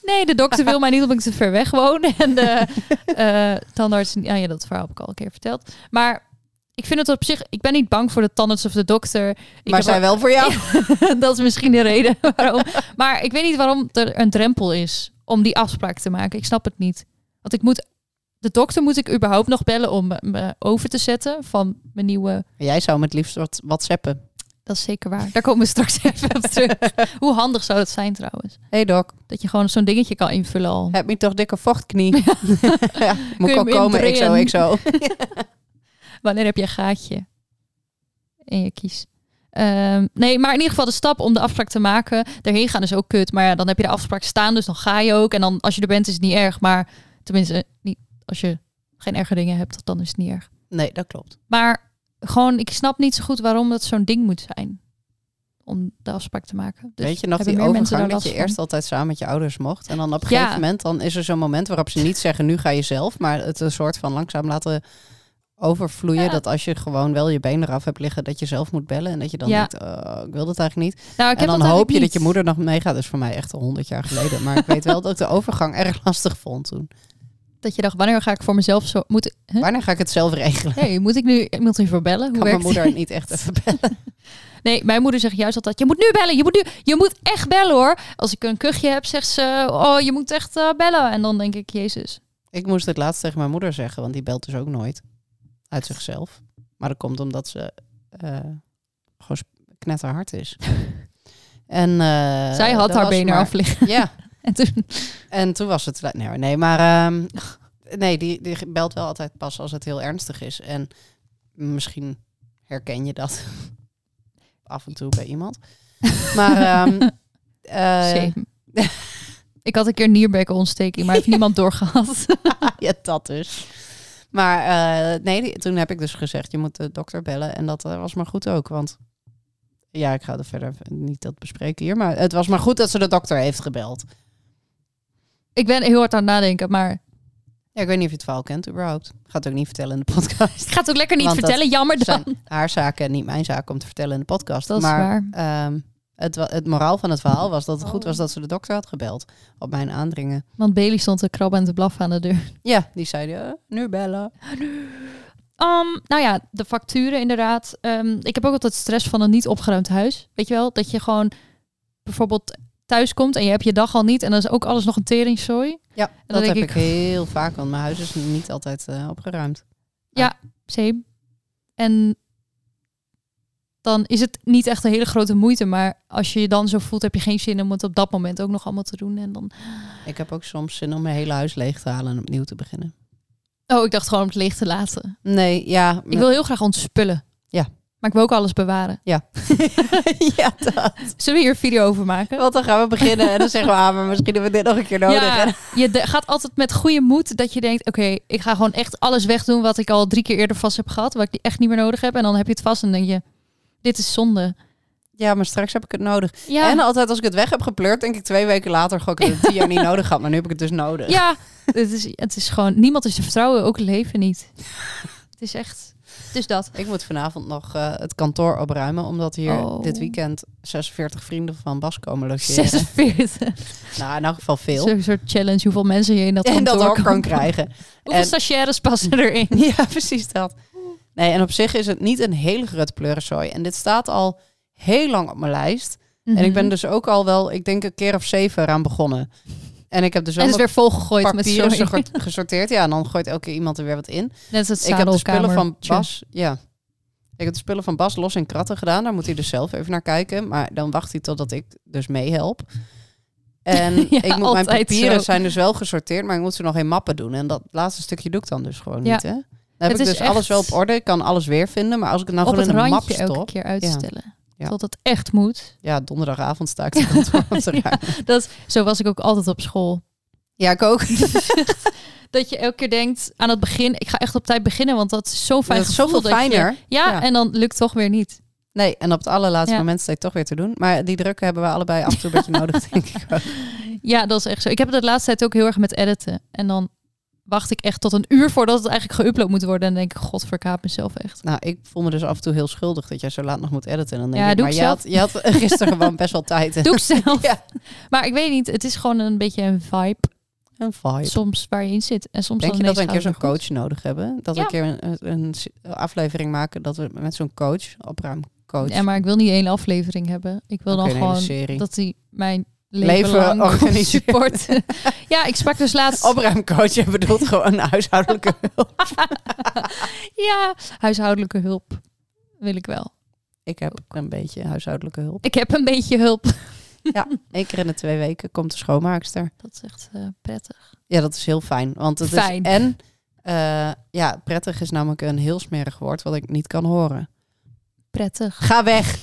S4: Nee, de
S3: (laughs)
S4: dokter wil mij niet omdat ik te ver weg woon. (laughs) En de eh, tandarts... Ja, ja, dat verhaal heb ik al een keer verteld. Maar ik vind het op zich... Ik ben niet bang voor de tandarts of de dokter. Ik
S3: maar
S4: heb
S3: zij wel voor jou.
S4: ook- (laughs) dat is misschien de reden waarom. Maar ik weet niet waarom er een drempel is om die afspraak te maken. Ik snap het niet. Want ik moet... De dokter moet ik überhaupt nog bellen om me- me over te zetten van mijn nieuwe...
S3: Jij zou met liefst wat whatsappen.
S4: Dat is zeker waar. Daar komen we straks (laughs) even op terug. Hoe handig zou dat zijn trouwens?
S3: hey doc,
S4: Dat je gewoon zo'n dingetje kan invullen al.
S3: heb je toch dikke vochtknie? (laughs) ja, moet
S4: je
S3: ik al
S4: hem
S3: komen, ik zo,
S4: indringen?
S3: ik zo.
S4: Wanneer heb je een gaatje? En je kies. Ehm, nee, maar in ieder geval de stap om de afspraak te maken. Daarheen gaan is ook kut. Maar ja, dan heb je de afspraak staan, dus dan ga je ook. En dan als je er bent is het niet erg. Maar tenminste, eh, niet, als je geen erge dingen hebt, dan is het niet erg.
S3: Nee, dat klopt.
S4: Maar gewoon, ik snap niet zo goed waarom dat zo'n ding moet zijn. Om de afspraak te maken. Dus
S3: Weet je nog
S4: hebben
S3: die
S4: meer mensen
S3: overgang
S4: daar
S3: dat je
S4: last van?
S3: eerst altijd samen met je ouders mocht? En dan op een
S4: Ja.
S3: gegeven moment, dan is er zo'n moment waarop ze niet zeggen, nu ga je zelf. Maar het een soort van langzaam laten overvloeien.
S4: Ja.
S3: Dat als je gewoon wel je been eraf hebt liggen, dat je zelf moet bellen. En dat je dan
S4: Ja.
S3: denkt, eh, ik wil dat eigenlijk niet.
S4: Nou, ik
S3: en
S4: heb
S3: dan
S4: dat
S3: hoop
S4: eigenlijk
S3: je dat je
S4: niet.
S3: moeder nog meegaat. Dat is voor mij echt al honderd jaar geleden. Maar ik weet wel dat ik de overgang erg lastig vond toen.
S4: Dat je dacht, wanneer ga ik voor mezelf zo... Moet, huh?
S3: Wanneer ga ik het zelf regelen?
S4: hey, moet ik nu iemand hiervoor bellen? Hoe
S3: Kan
S4: werkt
S3: mijn
S4: dit?
S3: moeder niet echt even bellen?
S4: Nee, mijn moeder zegt juist altijd: je moet nu bellen, je moet nu, je moet echt bellen hoor. Als ik een kuchje heb, zegt ze: oh, je moet echt eh, bellen. En dan denk ik: Jezus.
S3: Ik moest het laatst tegen mijn moeder zeggen, want die belt dus ook nooit. Uit zichzelf. Maar dat komt omdat ze eh, gewoon sp- knetterhard
S4: (laughs)
S3: is. En, eh,
S4: Zij had
S3: dat
S4: haar
S3: was
S4: benen
S3: maar-
S4: eraf liggen.
S3: (laughs) Ja,
S4: (laughs) En toen,
S3: en toen was het... Nee, hoor, nee maar... ehm, nee, die, die belt wel altijd pas als het heel ernstig is. En misschien herken je dat (laughs) af en toe bij iemand. Maar...
S4: (laughs)
S3: ehm, eh,
S4: Shame.
S3: (laughs)
S4: ik had een keer nierbekkenontsteking, maar heeft niemand doorgehad. (laughs)
S3: (laughs) ja, dat dus. Maar eh, nee, die- toen heb ik dus gezegd, je moet de dokter bellen. En dat eh, was maar goed ook, want... Ja, ik ga er verder even niet dat bespreken hier. Maar het was maar goed dat ze de dokter heeft gebeld.
S4: ik ben heel hard aan het nadenken, maar
S3: Ja, ik weet niet of je het verhaal kent überhaupt. Ik ga het ook niet vertellen in de podcast.
S4: ik ga het ook lekker niet
S3: Want dat
S4: vertellen. Jammer (laughs) dan.
S3: zijn haar zaken en niet mijn zaken om te vertellen in de podcast.
S4: Dat is
S3: maar
S4: waar.
S3: ehm, het, wa- het moraal van het verhaal was dat het goed
S4: Oh.
S3: was dat ze de dokter had gebeld. Op mijn aandringen.
S4: Want Bailey stond te krabben en te blaffen aan de deur.
S3: Ja, die zeiden, eh, nu bellen.
S4: Ehm, nou ja, de facturen inderdaad. Ehm, ik heb ook altijd stress van een niet opgeruimd huis. Weet je wel, dat je gewoon bijvoorbeeld thuis komt en je hebt je dag al niet en dan is ook alles nog een teringzooi.
S3: Ja,
S4: dan
S3: dat
S4: denk
S3: heb ik,
S4: ik-
S3: heel vaak, want mijn huis is niet altijd eh, opgeruimd.
S4: Zeep. En dan is het niet echt een hele grote moeite. Maar als je je dan zo voelt, heb je geen zin om het op dat moment ook nog allemaal te doen. En dan...
S3: Ik heb ook soms zin om mijn hele huis leeg te halen en opnieuw te beginnen.
S4: Oh, ik dacht gewoon om het leeg te laten.
S3: Nee, ja.
S4: Ik wil heel graag ontspullen.
S3: Ja.
S4: Maar ik wil ook alles bewaren.
S3: (laughs) ja, dat.
S4: Zullen we hier een video over maken?
S3: Want dan gaan we beginnen en dan zeggen we, ah, maar misschien hebben we dit nog een keer nodig. En-
S4: Ja, je de- gaat altijd met goede moed dat je denkt... oké, ik ga gewoon echt alles wegdoen wat ik al drie keer eerder vast heb gehad... wat ik echt niet meer nodig heb. En dan heb je het vast en dan denk je, dit is zonde.
S3: ja, maar straks heb ik het nodig.
S4: Ja,
S3: En altijd als ik het weg heb gepleurd, denk ik twee weken later, goh, ik heb het tien
S4: (laughs)
S3: jaar niet nodig gehad, maar nu heb ik het dus nodig.
S4: ja het, is, het is gewoon... niemand is te vertrouwen, ook het leven niet. Het is echt... Dus dat.
S3: Ik moet vanavond nog eh, het kantoor opruimen, omdat hier
S4: Oh.
S3: dit weekend 46 vrienden van Bas komen logeren.
S4: 46.
S3: Nou, in elk geval veel.
S4: Zo'n soort challenge, hoeveel mensen je in
S3: (laughs)
S4: dat
S3: En dat
S4: kantoor
S3: ook kan
S4: kan-
S3: krijgen.
S4: Hoeveel
S3: En-
S4: stagiaires passen erin?
S3: (laughs) Ja, precies dat. Nee, en op zich is het niet een hele grote pleurenzooi. En dit staat al heel lang op mijn lijst.
S4: Mhm.
S3: En ik ben dus ook al wel, ik denk een keer of zeven eraan begonnen. En ik heb dus
S4: En
S3: ook
S4: het is weer volgegooid met
S3: papieren
S4: zo'n...
S3: gesort- gesorteerd. Ja, en dan gooit elke keer iemand er weer wat in.
S4: (laughs) Net als het
S3: Ik heb de spullen
S4: zadelkamer-
S3: van Bas. Ja. Ik heb de spullen van Bas los in kratten gedaan. Daar moet hij dus zelf even naar kijken. Maar dan wacht hij totdat ik dus meehelp. En
S4: (laughs) Ja,
S3: ik moet mijn
S4: altijd
S3: papieren
S4: zo.
S3: zijn dus wel gesorteerd, maar ik moet ze nog geen mappen doen. En dat laatste stukje doe ik dan dus gewoon
S4: Ja.
S3: niet. Hè? Dan heb
S4: Het
S3: ik
S4: is
S3: dus alles
S4: echt
S3: wel op orde. Ik kan alles weer vinden. Maar als ik het nou
S4: op
S3: gewoon
S4: het
S3: in een map
S4: randje elke
S3: stop.
S4: keer uitstellen.
S3: Ja.
S4: Tot het echt moet.
S3: Ja, donderdagavond sta ik het
S4: (laughs)
S3: kantoor op te
S4: Ja.
S3: ruimen.
S4: Dat, zo was ik ook altijd op school.
S3: Ja, ik ook.
S4: Dat je elke keer denkt aan het begin, ik ga echt op tijd beginnen, want dat is zo'n fijn
S3: Dat is zoveel
S4: gevoel dat je-
S3: fijner.
S4: ja,
S3: Ja.
S4: en dan lukt toch weer niet.
S3: Nee, en op het allerlaatste
S4: Ja.
S3: moment sta ik toch weer te doen. Maar die drukken hebben we allebei af en toe
S4: (laughs)
S3: een beetje nodig, denk ik. ook.
S4: Ja, dat is echt zo. Ik heb het de laatste tijd ook heel erg met editen. En dan wacht ik echt tot een uur voordat het eigenlijk geüpload moet worden. En dan denk ik, god, verkaap mezelf
S3: (laughs)
S4: echt.
S3: Nou, ik voel me dus af en toe heel schuldig dat jij zo laat nog moet editen. En dan denk
S4: Ja,
S3: ik,
S4: doe
S3: maar
S4: ik
S3: jij
S4: zelf.
S3: had, jij had
S4: (laughs)
S3: gisteren gewoon best wel tijd.
S4: Doe ik zelf.
S3: Ja.
S4: Maar ik weet niet, het is gewoon een beetje een vibe
S3: Een vibe.
S4: soms waar je in zit. En soms
S3: Denk
S4: dan
S3: je dat we een keer
S4: ineens
S3: zo'n
S4: gaat het
S3: coach nodig hebben? Dat
S4: Ja.
S3: we een keer een, een s- aflevering maken dat we met zo'n coach,
S4: goed.
S3: opruimcoach,
S4: Ja, maar ik wil niet één aflevering hebben. Ik wil
S3: Oké,
S4: dan
S3: een hele
S4: gewoon
S3: serie.
S4: dat hij mijn leven,
S3: Leven
S4: lang
S3: organiseert.
S4: (laughs) support. ja, ik sprak dus laatst.
S3: (laughs) opruimcoach, je
S4: (laughs)
S3: bedoelt gewoon huishoudelijke hulp.
S4: Ja, huishoudelijke hulp wil (laughs) ik wel.
S3: Ik heb ook een beetje huishoudelijke hulp.
S4: Ik heb een beetje hulp.
S3: Eén keer in de twee weken komt de schoonmaakster.
S4: Dat is echt eh, prettig.
S3: Ja, dat is heel fijn. Want het
S4: Fijn.
S3: is en eh, ja, prettig is namelijk een heel smerig woord wat ik niet kan horen.
S4: Prettig.
S3: Ga weg.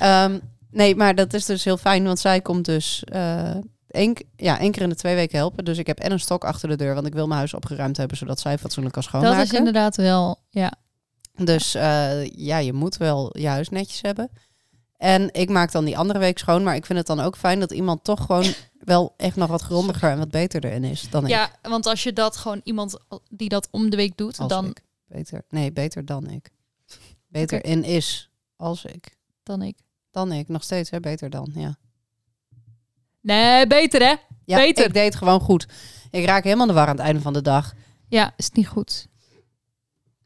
S3: Ehm, nee, maar dat is dus heel fijn, want zij komt dus eh één, k- ja, één keer in de twee weken helpen. Dus ik heb en een stok achter de deur, want ik wil mijn huis opgeruimd hebben, zodat zij fatsoenlijk kan
S4: Dat is
S3: schoonmaken.
S4: inderdaad wel, ja.
S3: Dus eh, ja, je moet wel je huis netjes hebben. En ik maak dan die andere week schoon, maar ik vind het dan ook fijn dat iemand toch gewoon wel echt nog wat grondiger en wat beter erin is dan ik.
S4: Ja, want als je dat gewoon iemand die dat om de week doet,
S3: Als
S4: dan,
S3: ik. Beter, nee, beter dan ik. Beter in is als ik.
S4: dan ik.
S3: Dan ik, nog steeds, hè? beter dan, ja.
S4: Nee, beter hè?
S3: Ja,
S4: Beter.
S3: ik deed het gewoon goed. Ik raak helemaal de war aan het einde van de dag.
S4: Ja, is niet goed.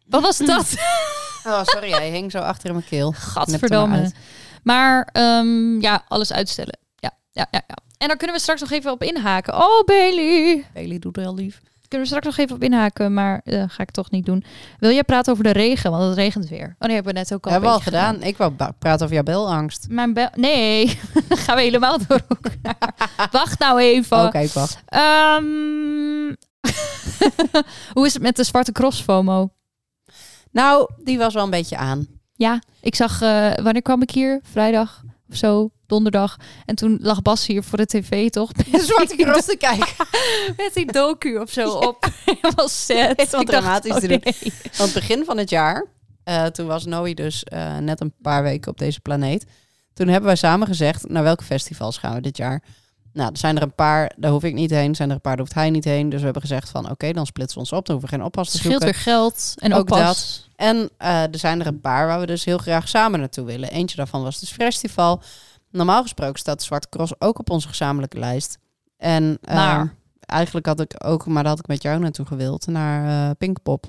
S4: Wat was
S3: (laughs)
S4: dat?
S3: Oh, sorry, hij hing zo achter in mijn keel. Knipte maar
S4: Gadverdamme. Maar ehm, ja, alles uitstellen. Ja, ja, ja, ja. En daar kunnen we straks nog even op inhaken. Oh, Bailey.
S3: (laughs) Bailey doet wel lief.
S4: Kunnen we straks nog even op inhaken, maar eh, ga ik toch niet doen. Wil jij praten over de regen? Want het regent weer. Oh nee, hebben we net ook al,
S3: Dat hebben we al
S4: een beetje
S3: gedaan. Ik wou ba- praten over jouw belangst.
S4: Mijn bel... Nee, (laughs) gaan we helemaal door elkaar. Wacht nou even.
S3: Oh, Oké, ik wacht.
S4: Ehm, (laughs) Hoe is het met de zwarte cross FOMO?
S3: Nou, die was wel een beetje aan.
S4: Ja, ik zag... eh, wanneer kwam ik hier? Vrijdag of zo? Donderdag. En toen lag Bas hier voor de tv,
S3: (laughs)
S4: toch?
S3: De zwarte cross (laughs) te kijken.
S4: Met die docu (laughs) of zo op. Helemaal sad.
S3: Iets wat
S4: Ik dacht,
S3: dramatisch
S4: oh
S3: te doen.
S4: nee.
S3: Want begin van het jaar, eh, toen was Noe dus eh, net een paar weken op deze planeet. Toen hebben wij samen gezegd, naar welke festivals gaan we dit jaar? Nou, er zijn er een paar, daar hoef ik niet heen. Zijn er een paar, daar hoeft hij niet heen. Dus we hebben gezegd van, oké, dan splitsen we ons op. Dan hoeven we geen oppas
S4: Het
S3: te
S4: scheelt
S3: zoeken.
S4: weer geld. En ook,
S3: Ook dat.
S4: pas.
S3: En eh, er zijn er een paar waar we dus heel graag samen naartoe willen. Eentje daarvan was dus Festival. Normaal gesproken staat Zwarte Cross ook op onze gezamenlijke lijst. En eh,
S4: Maar?
S3: eigenlijk had ik ook, maar daar had ik met jou naartoe gewild, naar eh, Pinkpop.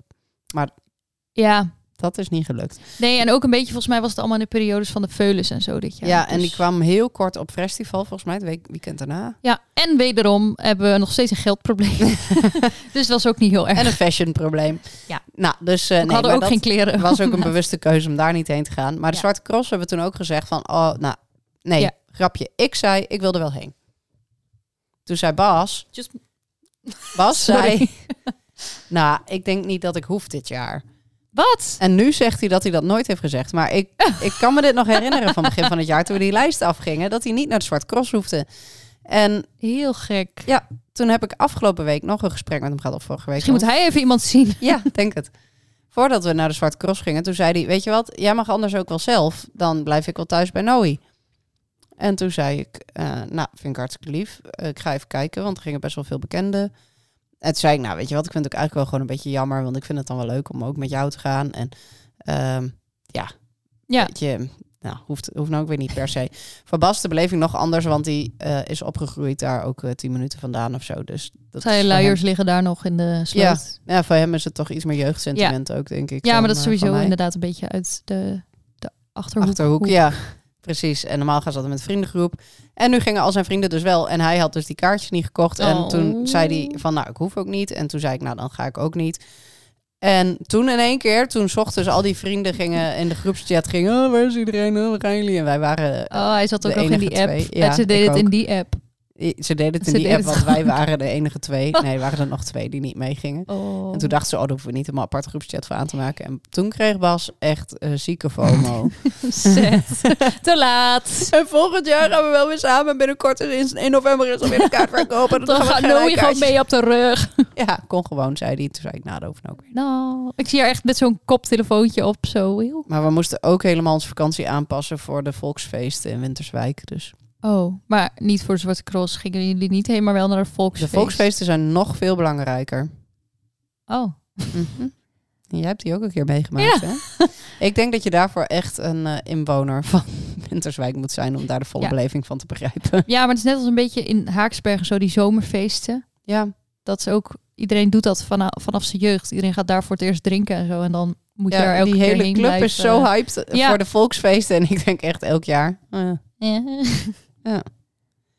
S4: Ja,
S3: dat is niet gelukt.
S4: Nee, en ook een beetje, volgens mij was het allemaal in de periodes van de veulens en zo dit
S3: Ja,
S4: jaar.
S3: en
S4: Dus-
S3: die kwam heel kort op festival, volgens mij, het week, weekend
S4: (laughs)
S3: daarna.
S4: Ja, en wederom hebben we nog steeds een geldprobleem.
S3: (laughs)
S4: (laughs) dus was ook niet heel erg.
S3: En een fashion probleem.
S4: Ja.
S3: Nou, dus... eh,
S4: we
S3: nee,
S4: hadden
S3: maar
S4: ook
S3: dat-
S4: geen kleren.
S3: Het (laughs) was ook een bewuste keuze om daar niet heen te gaan. Maar de
S4: Ja.
S3: Zwarte Cross hebben we toen ook gezegd van... Oh, nou, nee,
S4: Ja.
S3: grapje. Ik zei, ik wilde wel heen. Toen zei Bas...
S4: Just- (laughs)
S3: Bas
S4: Sorry.
S3: zei... (laughs) Nou, ik denk niet dat ik hoef dit jaar.
S4: (laughs) Wat?
S3: En nu zegt hij dat hij dat nooit heeft gezegd. Maar
S4: (laughs)
S3: ik, ik kan me dit nog herinneren van begin van het jaar... toen we die lijst afgingen, dat hij niet naar de Zwarte Cross hoefde. En
S4: Heel gek.
S3: Ja, toen heb ik afgelopen week nog een gesprek met hem gehad. Of vorige week.
S4: Misschien
S3: al.
S4: moet hij even iemand zien.
S3: (laughs)
S4: (laughs)
S3: Ja, denk het. Voordat we naar de Zwarte Cross gingen, toen zei hij... Weet je wat, jij mag anders ook wel zelf. Dan blijf ik wel thuis bij Noe. En toen zei ik, eh, nou, vind ik hartstikke lief. Eh, ik ga even kijken, want er gingen best wel veel bekenden. En toen zei ik, nou, weet je wat, ik vind het ook eigenlijk wel gewoon een beetje jammer. Want ik vind het dan wel leuk om ook met jou te gaan. En ehm, ja,
S4: Ja.
S3: weet je... Nou, hoeft, hoeft nou ook weer niet per se. Voor Bas de beleving nog anders, want die eh, is opgegroeid daar ook eh, tien minuten vandaan of zo. Dus dat is
S4: Zijn
S3: voor hem-
S4: luiers liggen daar nog in de sloot.
S3: ja, voor hem is het toch iets meer jeugdsentiment ook, denk ik.
S4: Ja,
S3: dan,
S4: maar dat is
S3: eh,
S4: sowieso
S3: van mij.
S4: inderdaad een beetje uit de, de achterhoek.
S3: Achterhoek, ja. Precies. En normaal gaat dat met een vriendengroep. En nu gingen al zijn vrienden dus wel. En hij had dus die kaartjes niet gekocht. En
S4: Oh.
S3: toen zei hij van, nou, ik hoef ook niet. En toen zei ik, nou, dan ga ik ook niet. En toen in één keer, toen 's ochtends al die vrienden gingen in de groepschat gingen, oh, waar is iedereen? Oh, waar gaan jullie? En wij waren, eh,
S4: Oh, hij zat ook
S3: De
S4: nog in die
S3: enige
S4: app.
S3: twee.
S4: En
S3: Ja,
S4: ze deed
S3: ik
S4: het in
S3: ook.
S4: die app.
S3: ze deden het in
S4: Ze
S3: die
S4: deden
S3: app,
S4: het
S3: want wij
S4: ook.
S3: waren de enige
S4: (laughs)
S3: twee. Nee, waren er nog twee die niet meegingen.
S4: Oh.
S3: En toen dachten ze, oh, daar hoeven we niet een aparte groepschat voor aan te maken. En toen kreeg Bas echt eh, zieke
S4: (laughs)
S3: FOMO.
S4: Oh, Zet. (laughs)
S3: (laughs)
S4: Te laat.
S3: en volgend jaar gaan we wel weer samen. En binnenkort is in, in november is er
S4: (laughs)
S3: weer een kaartverkoop. En
S4: Dan gaat Noe gewoon mee op de rug.
S3: Ja, kon gewoon, zei hij. Toen zei ik, nou, dat hoeft ook weer.
S4: Nou, ik zie haar echt met zo'n koptelefoontje op. Zo heel.
S3: Maar we moesten ook helemaal onze vakantie aanpassen voor de volksfeesten in Winterswijk. Dus
S4: Oh, maar niet voor de Zwarte Cross gingen jullie niet heen, maar wel naar de
S3: de
S4: Volksfeest.
S3: volksfeesten zijn nog veel belangrijker.
S4: Oh,
S3: Mhm. En Jij hebt die ook een keer meegemaakt, hè? Ik denk dat je daarvoor echt een eh, inwoner van (laughs) Winterswijk moet zijn... om daar de volle
S4: Ja.
S3: beleving van te begrijpen.
S4: ja, maar het is net als een beetje in Haaksbergen zo die zomerfeesten.
S3: Ja,
S4: Dat is ook iedereen doet dat vanaf, vanaf zijn jeugd. Iedereen gaat daar voor het eerst drinken en zo, en dan moet je
S3: Ja,
S4: daar elke
S3: die
S4: keer
S3: hele
S4: heen
S3: club is
S4: blijven.
S3: zo hyped
S4: Ja.
S3: voor de volksfeesten. (laughs) En ik denk echt elk jaar. eh,
S4: (laughs)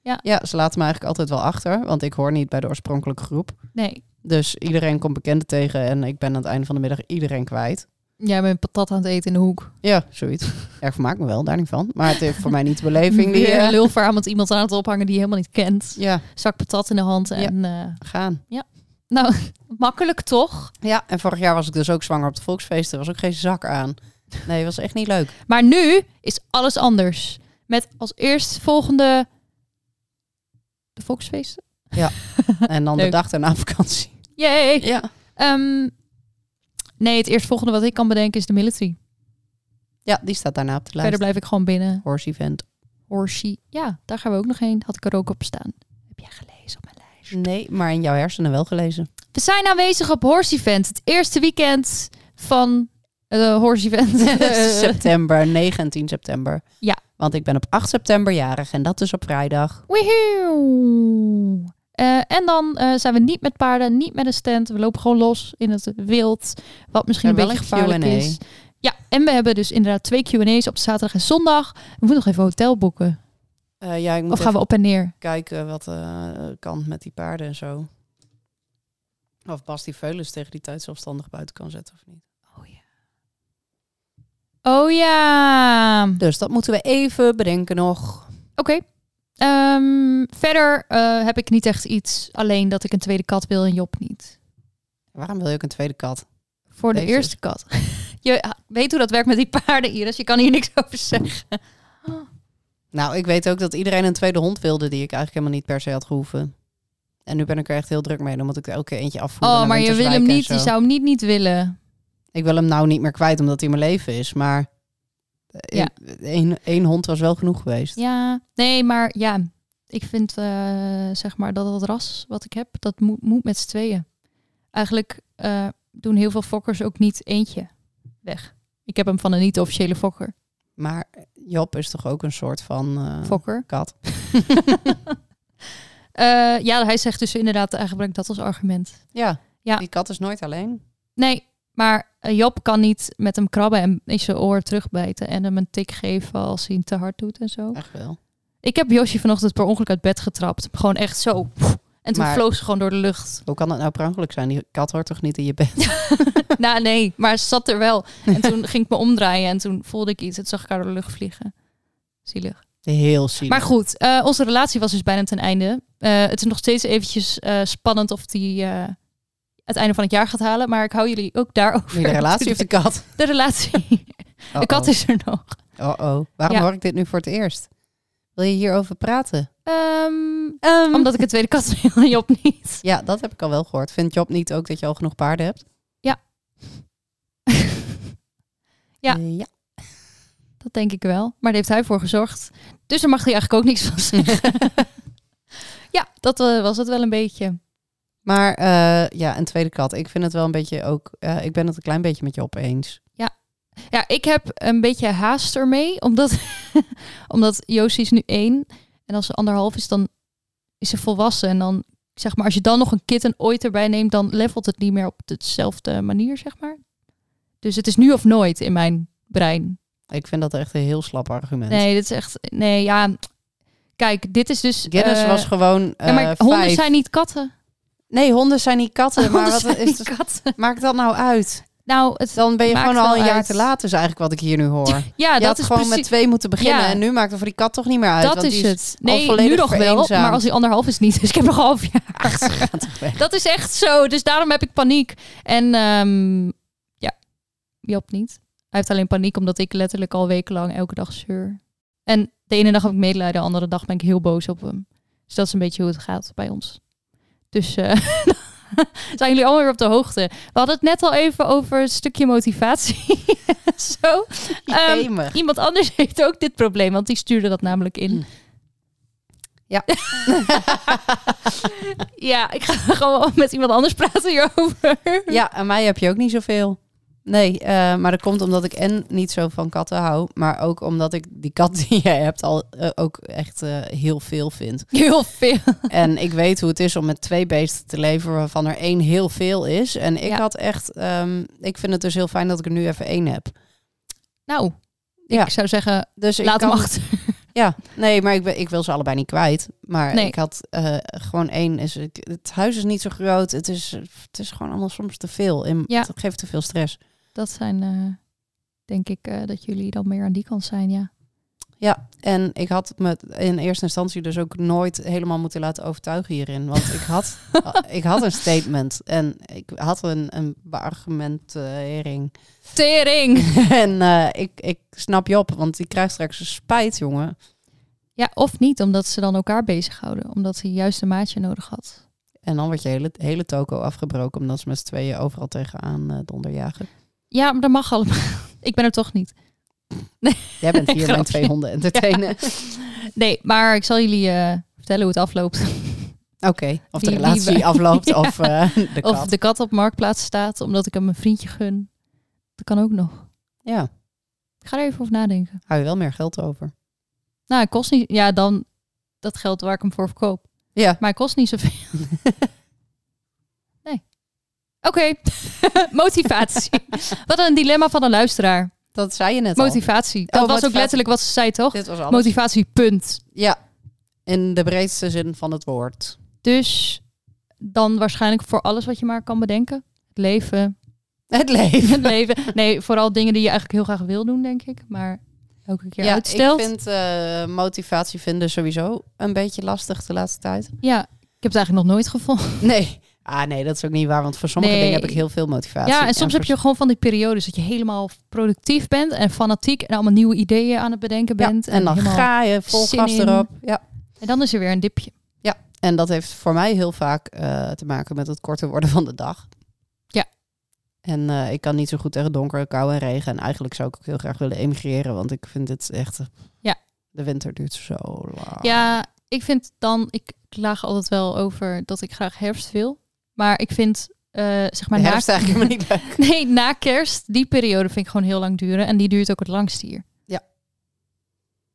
S4: Ja.
S3: Ja, ze laten me eigenlijk altijd wel achter, want ik hoor niet bij de oorspronkelijke groep.
S4: Nee,
S3: Dus iedereen komt bekenden tegen en ik ben aan het einde van de middag iedereen kwijt.
S4: jij bent patat aan het eten in de hoek.
S3: Ja, (laughs) zoiets. Ja, ik vermaak me wel, daar niet van. Maar het is voor mij niet de beleving (laughs) die...
S4: Weer
S3: eh,
S4: een lulverhaal met iemand aan het ophangen die je helemaal niet kent.
S3: ja,
S4: Zak patat in de hand en... eh,
S3: gaan.
S4: nou, makkelijk toch?
S3: Ja, en vorig jaar was ik dus ook zwanger op de volksfeesten. Er was ook geen zak aan. Nee, was echt niet leuk. (laughs)
S4: Maar nu is alles anders. Met als eerst volgende... De Volksfeesten?
S3: En dan de
S4: Leuk.
S3: dag daarna vakantie.
S4: Yay!
S3: Ja.
S4: Ehm, nee, het eerstvolgende wat ik kan bedenken is de military.
S3: Ja, die staat daarna op de
S4: Verder
S3: lijst.
S4: blijf ik gewoon binnen.
S3: Horse event.
S4: Horsie. Ja, daar gaan we ook nog heen. Had ik er ook op staan. Heb jij gelezen op mijn lijst?
S3: Nee, maar in jouw hersenen wel gelezen.
S4: We zijn aanwezig op Horse Event. Het eerste weekend van eh Horse Event.
S3: (laughs)
S4: (laughs)
S3: september, 19 september.
S4: Ja.
S3: Want ik ben op 8 september jarig en dat is op vrijdag.
S4: Weehoe. Eh, en dan eh, zijn we niet met paarden, niet met een stand. We lopen gewoon los in het wild. Wat misschien
S3: Ja,
S4: een
S3: wel
S4: beetje
S3: een
S4: gevaarlijk
S3: Q&A.
S4: is. Ja, en we hebben dus inderdaad twee Q&A's op zaterdag en zondag. We moeten nog even hotel boeken.
S3: Eh, ja, ik moet
S4: Of gaan we op en neer?
S3: even kijken wat eh kan met die paarden en zo. Of Bas die Veulens tegen die tijd zelfstandig buiten kan zetten of niet.
S4: Oh ja. Oh ja. Oké.
S3: Dus dat moeten we even bedenken nog.
S4: Ehm, verder eh, heb ik niet echt iets. Alleen dat ik een tweede kat wil en Job niet.
S3: Waarom wil je ook een tweede kat?
S4: Voor de
S3: Weet je.
S4: eerste kat. (laughs) Je ah, weet hoe dat werkt met die paarden, Iris. Je kan hier niks over zeggen.
S3: Nou, ik weet ook dat iedereen een tweede hond wilde die ik eigenlijk helemaal niet per se had gehoeven. En nu ben ik er echt heel druk mee, dan moet ik er elke eentje afvoeren.
S4: Oh,
S3: naar
S4: maar je wil
S3: Winterswijk
S4: hem
S3: en
S4: niet.
S3: zo.
S4: Je zou hem niet niet willen.
S3: Ik wil hem nou niet meer kwijt omdat hij in mijn leven is, maar eh,
S4: Ja.
S3: één één hond was wel genoeg geweest.
S4: Ja. Nee, maar ja. Ik vind, eh, zeg maar, dat het ras wat ik heb, dat moet, moet met z'n tweeën. Eigenlijk eh, doen heel veel fokkers ook niet eentje weg. Ik heb hem van een niet-officiële fokker.
S3: Maar Job is toch ook een soort van eh,
S4: Fokker.
S3: (laughs)
S4: (laughs)
S3: kat.
S4: Eh, ja, hij zegt dus inderdaad, hij gebruikt dat als argument.
S3: Ja.
S4: Ja.
S3: Die kat is nooit alleen.
S4: Nee, Maar eh, Job kan niet met hem krabben en in zijn oor terugbijten en hem een tik geven als hij hem te hard doet en zo.
S3: Echt wel.
S4: Ik heb Yoshi vanochtend per ongeluk uit bed getrapt. Gewoon echt zo. En toen
S3: Maar-
S4: vloog ze gewoon door de lucht.
S3: Hoe kan dat nou per ongeluk zijn? Die kat hoort toch niet in je bed? (laughs)
S4: nou, nee, maar ze zat er wel. En toen ging ik me omdraaien en toen voelde ik iets. En toen zag ik haar door de lucht vliegen. Zielig.
S3: Heel zielig.
S4: Maar goed, eh, onze relatie was dus bijna ten einde. Eh, het is nog steeds eventjes eh, spannend of die eh, het einde van het jaar gaat halen. Maar ik hou jullie ook daarover.
S3: Wie de
S4: (laughs)
S3: relatie of de kat?
S4: De relatie.
S3: Oh,
S4: De kat
S3: oh.
S4: is er nog.
S3: Oh, oh. Waarom
S4: Ja.
S3: hoor ik dit nu voor het eerst? Wil je hierover praten?
S4: Ehm, Omdat ik een tweede kat wil (laughs) en Job niet.
S3: Ja, dat heb ik al wel gehoord. Vindt Job niet ook dat je al genoeg paarden hebt?
S4: Ja.
S3: Eh, ja.
S4: Dat denk ik wel. Maar daar heeft hij voor gezorgd. Dus daar mag hij eigenlijk ook niks van
S3: (laughs)
S4: zeggen. ja, dat eh, was het wel een beetje.
S3: Maar eh, ja, een tweede kat. Ik vind het wel een beetje ook... eh, ik ben het een klein beetje met Job eens.
S4: Ja, ik heb een beetje haast ermee. Omdat, (laughs) omdat Josie is nu één. En als ze anderhalf is, dan is ze volwassen. En dan, zeg maar, als je dan nog een kitten ooit erbij neemt... dan levelt het niet meer op dezelfde manier, zeg maar. Dus het is nu of nooit in mijn brein.
S3: Ik vind dat echt een heel slap argument.
S4: Nee, dit is echt... Nee, ja... Kijk, dit is dus...
S3: Guinness
S4: eh,
S3: was gewoon eh
S4: ja, maar honden
S3: vijf.
S4: zijn niet katten.
S3: Nee, honden zijn niet katten. (laughs) maar
S4: (laughs) Honden
S3: wat
S4: zijn
S3: is
S4: niet
S3: het-
S4: katten.
S3: maakt dat nou uit?
S4: Nou, het,
S3: Dan ben je
S4: Maakt
S3: gewoon al
S4: wel
S3: een jaar
S4: uit.
S3: te laat, is eigenlijk wat ik hier nu hoor. Je
S4: ja, dat
S3: had
S4: is
S3: gewoon met
S4: precies...
S3: twee moeten beginnen.
S4: Ja.
S3: En nu maakt het voor die kat toch niet meer uit.
S4: dat
S3: want
S4: is
S3: die
S4: het.
S3: al
S4: Nee, nu
S3: volledig
S4: nog wel,
S3: vereenzaamd.
S4: maar als die anderhalf is niet. Dus ik heb nog een half jaar.
S3: (laughs)
S4: (laughs)
S3: gaat toch weg.
S4: Dat is echt zo. Dus daarom heb ik paniek. En ehm, ja, Job niet. Hij heeft alleen paniek omdat ik letterlijk al wekenlang elke dag zeur. En de ene dag heb ik medelijden, de andere dag ben ik heel boos op hem. Dus dat is een beetje hoe het gaat bij ons. Dus eh, (laughs) zijn jullie allemaal weer op de hoogte. We hadden het net al even over het stukje motivatie. (laughs) zo. Ehm,
S3: Jemig.
S4: iemand anders heeft ook dit probleem, want die stuurde dat namelijk in.
S3: Ja.
S4: Ehm, (laughs) Ja, ik ga (laughs) gewoon met iemand anders praten hierover.
S3: Ja, aan mij heb je ook niet zoveel. Nee, eh, maar dat komt omdat ik en niet zo van katten hou, maar ook omdat ik die kat (laughs) die jij hebt al eh, ook echt eh, heel veel
S4: (laughs)
S3: vind.
S4: Heel veel.
S3: En ik weet hoe het is om met twee beesten te leven waarvan er één heel veel is. En ik
S4: Ja.
S3: had echt, ehm, ik vind het dus heel fijn dat ik er nu even één heb.
S4: Nou,
S3: Ja.
S4: ik zou zeggen,
S3: Dus ik
S4: laat hem
S3: kan-
S4: achter.
S3: Ja, nee, maar ik, ben- ik wil ze allebei niet kwijt. Maar
S4: Nee.
S3: ik had eh, gewoon één. Is, ik- het huis is niet zo groot. Het is, het is gewoon allemaal soms te veel. En
S4: Ja.
S3: Het geeft te veel stress.
S4: (laughs) Dat zijn, eh, denk ik, eh, dat jullie dan meer aan die kant zijn, ja.
S3: Ja, en ik had me in eerste instantie dus ook nooit helemaal moeten laten overtuigen hierin. Want ik
S4: (laughs)
S3: had, eh, ik had een statement en ik had een, een
S4: (laughs)
S3: beargumentering.
S4: Tering!
S3: en eh, ik, ik snap Job, want die krijgt straks een spijt, jongen.
S4: Ja, of niet, omdat ze dan elkaar bezighouden. Omdat hij juist een maatje nodig had.
S3: En dan wordt je hele, hele toko afgebroken omdat ze met z'n tweeën overal tegenaan eh, donderjagen.
S4: Ja, maar dat mag allemaal. (laughs) Ik ben er toch niet.
S3: Jij
S4: (laughs)
S3: bent hier mijn
S4: Grapje.
S3: twee honden
S4: (laughs)
S3: entertainen.
S4: Nee, maar ik zal jullie eh, vertellen hoe het afloopt.
S3: Oké, of de
S4: Die- die
S3: relatie
S4: we-
S3: afloopt
S4: (laughs) Ja.
S3: of eh, de kat.
S4: Of de kat op marktplaats staat, omdat ik hem een vriendje gun. Dat kan ook nog.
S3: Ja,
S4: Ik ga er even over nadenken.
S3: hou je wel meer geld over.
S4: Nou, het kost niet. Ja, dan dat geld waar ik hem voor verkoop.
S3: Ja,
S4: Maar het kost niet zoveel.
S3: (laughs)
S4: nee. Oké. (laughs) Motivatie. Wat een dilemma van een luisteraar.
S3: dat zei je net al.
S4: Motivatie. Dat
S3: Oh,
S4: was ook
S3: motivatie.
S4: letterlijk wat ze zei, toch?
S3: Dit was alles.
S4: Motivatie, punt.
S3: ja, in de breedste zin van het woord. (laughs)
S4: Dus dan waarschijnlijk voor alles wat je maar kan bedenken. Het leven, (laughs)
S3: Het leven.
S4: het leven. Nee, vooral dingen die je eigenlijk heel graag wil doen, denk ik. Maar elke keer
S3: Ja,
S4: uitstelt.
S3: ik vind eh, motivatie vinden sowieso een beetje lastig de laatste tijd.
S4: Ja, ik heb het eigenlijk nog nooit gevonden.
S3: Nee. Ah nee, dat is ook niet waar, want voor sommige
S4: Nee.
S3: dingen heb ik heel veel motivatie.
S4: Ja, en soms heb
S3: voor-
S4: je gewoon van die periodes dat je helemaal productief bent en fanatiek en allemaal nieuwe ideeën aan het bedenken
S3: Ja,
S4: bent.
S3: en dan
S4: helemaal-
S3: ga je vol
S4: zin
S3: gas
S4: in.
S3: erop. Ja.
S4: En dan is er weer een dipje.
S3: En dat heeft voor mij heel vaak eh, te maken met het korter worden van de dag.
S4: Ja.
S3: En eh, ik kan niet zo goed tegen donker, kou en regen. En eigenlijk zou ik ook heel graag willen emigreren, want ik vind dit echt... eh,
S4: Ja.
S3: De winter duurt zo lang.
S4: Ja, ik vind dan, ik klaag altijd wel over dat ik graag herfst wil. Maar ik vind, eh, zeg maar,
S3: de
S4: na-
S3: herfst
S4: (laughs)
S3: eigenlijk helemaal niet leuk.
S4: nee, na kerst, die periode vind ik gewoon heel lang duren. En die duurt ook het langst hier.
S3: Ja.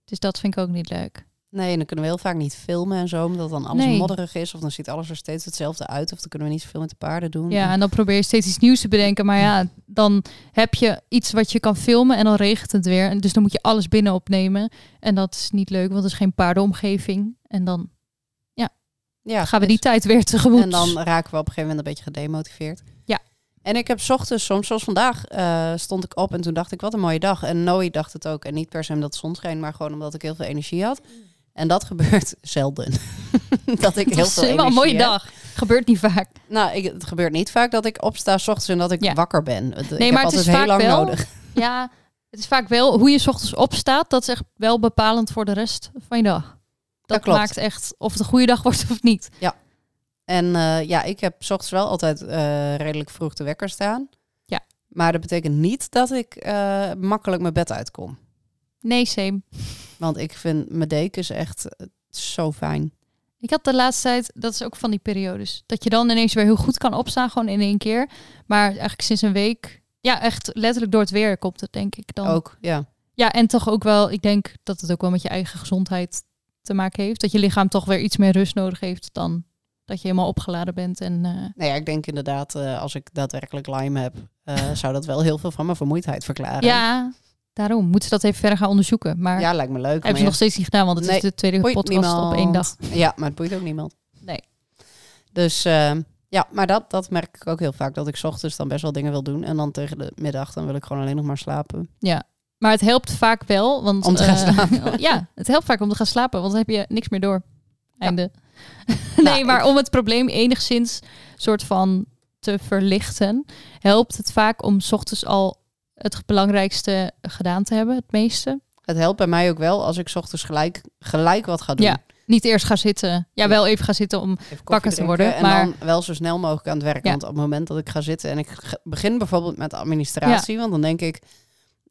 S4: Dus dat vind ik ook niet leuk.
S3: Nee, en dan kunnen we heel vaak niet filmen en zo, omdat dan alles
S4: Nee.
S3: modderig is. Of dan ziet alles er steeds hetzelfde uit. Of dan kunnen we niet zoveel met de paarden doen.
S4: Ja, en dan probeer je steeds iets nieuws te bedenken. Maar ja, dan heb je iets wat je kan filmen en dan regent het weer. En dus dan moet je alles binnen opnemen. En dat is niet leuk, want er is geen paardenomgeving. En dan
S3: Ja,
S4: gaan we
S3: dus-
S4: die tijd weer tegemoet.
S3: En dan eh, raken we op een gegeven moment een beetje gedemotiveerd.
S4: Ja.
S3: En ik heb 's ochtends soms, zoals vandaag, eh, stond ik op en toen dacht ik, wat een mooie dag. En Noe dacht het ook. En niet per se omdat het zon scheen, maar gewoon omdat ik heel veel energie had. En dat gebeurt (laughs) zelden. dat
S4: (laughs)
S3: ik heel veel
S4: Het was
S3: energie
S4: helemaal een mooie
S3: heb.
S4: dag. Gebeurt niet
S3: (laughs)
S4: vaak.
S3: Nou, ik, het gebeurt niet vaak dat ik opsta 's ochtends en dat ik
S4: Ja.
S3: wakker ben. Nee, ik heb
S4: maar het
S3: altijd
S4: is
S3: heel
S4: vaak
S3: lang
S4: wel-
S3: nodig.
S4: Ja, het is vaak wel hoe je 's ochtends opstaat. Dat is echt wel bepalend voor de rest van je dag. Dat,
S3: klopt.
S4: maakt echt of het een goede dag wordt of niet.
S3: En eh, ja, ik heb 's ochtends wel altijd eh, redelijk vroeg de wekker staan.
S4: Ja.
S3: Maar dat betekent niet dat ik eh, makkelijk mijn bed uitkom.
S4: Nee, same.
S3: Want ik vind mijn dekens echt eh, zo fijn.
S4: Ik had de laatste tijd, dat is ook van die periodes, dat je dan ineens weer heel goed kan opstaan, gewoon in één keer. Maar eigenlijk sinds een week, ja, echt letterlijk door het weer komt het, denk ik dan.
S3: Ook, ja.
S4: Ja, en toch ook wel, ik denk dat het ook wel met je eigen gezondheid te maken heeft. Dat je lichaam toch weer iets meer rust nodig heeft dan dat je helemaal opgeladen bent. En eh,
S3: Nou ja, ik denk inderdaad, eh, als ik daadwerkelijk Lyme heb,
S4: (laughs)
S3: eh, zou dat wel heel veel van mijn vermoeidheid verklaren.
S4: ja, daarom moeten ze dat even verder gaan onderzoeken. Maar
S3: Ja, lijkt me leuk.
S4: hebben
S3: maar
S4: ze
S3: ja,
S4: nog steeds niet gedaan, want het
S3: Nee,
S4: is de tweede
S3: boeit
S4: podcast op één
S3: niemand.
S4: dag.
S3: Ja, maar het boeit ook niemand.
S4: Nee.
S3: Dus eh, ja, maar dat, dat merk ik ook heel vaak. Dat ik 's ochtends dan best wel dingen wil doen. En dan tegen de middag, dan wil ik gewoon alleen nog maar slapen.
S4: Maar het helpt vaak wel. Want,
S3: Om te gaan
S4: eh,
S3: slapen.
S4: (laughs) ja, het helpt vaak om te gaan slapen, want dan heb je niks meer door. Einde. (laughs) nee,
S3: Nou,
S4: maar
S3: ik-
S4: om het probleem enigszins soort van te verlichten, helpt het vaak om 's ochtends al het belangrijkste gedaan te hebben, het meeste.
S3: Het helpt bij mij ook wel als ik 's ochtends gelijk, gelijk wat ga doen.
S4: Ja, niet eerst gaan zitten. Ja, wel even gaan zitten om.
S3: Even koffie
S4: wakker te
S3: drinken
S4: worden,
S3: En
S4: maar-
S3: dan wel zo snel mogelijk aan het werk.
S4: Ja.
S3: Want op het moment dat ik ga zitten en ik ge- begin bijvoorbeeld met administratie, want dan denk ik,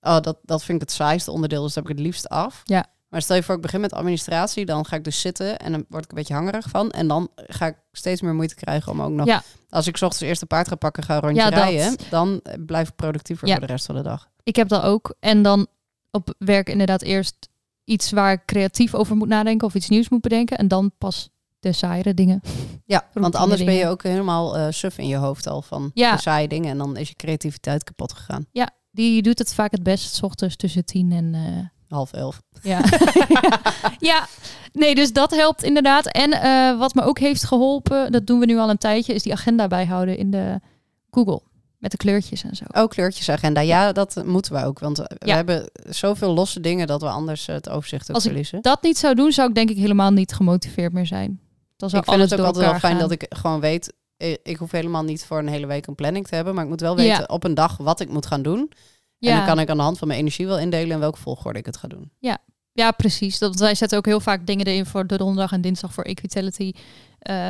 S3: oh, dat, dat vind ik het saaiste onderdeel, dus dat heb ik het liefst af.
S4: Ja.
S3: Maar stel je voor, ik begin met administratie, dan ga ik dus zitten en dan word ik een beetje hangerig van. En dan ga ik steeds meer moeite krijgen om ook nog,
S4: Ja.
S3: als ik 's ochtends eerst een paard ga pakken, ga een rondje
S4: Ja, dat.
S3: rijden, dan eh, blijf ik productiever
S4: Ja.
S3: voor de rest van de dag.
S4: Ik heb dat ook. En dan op werk inderdaad eerst iets waar ik creatief over moet nadenken of iets nieuws moet bedenken. En dan pas de saaiere dingen.
S3: Ja, want
S4: Routine
S3: anders ben je
S4: dingen.
S3: ook helemaal eh suf in je hoofd al van
S4: Ja.
S3: de saaie dingen en dan is je creativiteit kapot gegaan.
S4: Die doet het vaak het best, 's ochtends tussen tien en eh,
S3: Half elf.
S4: Ja. (laughs) ja, nee, dus dat helpt inderdaad. En eh, wat me ook heeft geholpen, dat doen we nu al een tijdje, is die agenda bijhouden in de Google. Met de kleurtjes en zo.
S3: Oh, kleurtjesagenda. Ja, dat moeten we ook. Want eh, we
S4: Ja.
S3: hebben zoveel losse dingen dat we anders eh, het overzicht ook
S4: Als ik
S3: verliezen.
S4: Dat niet zou doen, zou ik denk ik helemaal niet gemotiveerd meer zijn. Dan
S3: Ik,
S4: zou
S3: vind
S4: alles
S3: het ook
S4: door
S3: altijd wel
S4: elkaar
S3: fijn
S4: gaan.
S3: dat ik gewoon weet... eh, Ik hoef helemaal niet voor een hele week een planning te hebben. Maar ik moet wel weten
S4: Ja.
S3: op een dag wat ik moet gaan doen. En
S4: Ja,
S3: dan kan ik aan de hand van mijn energie wel indelen... in welke volgorde ik het ga doen.
S4: ja precies. Dat, want wij zetten ook heel vaak dingen erin voor de donderdag en dinsdag voor Equitality. eh,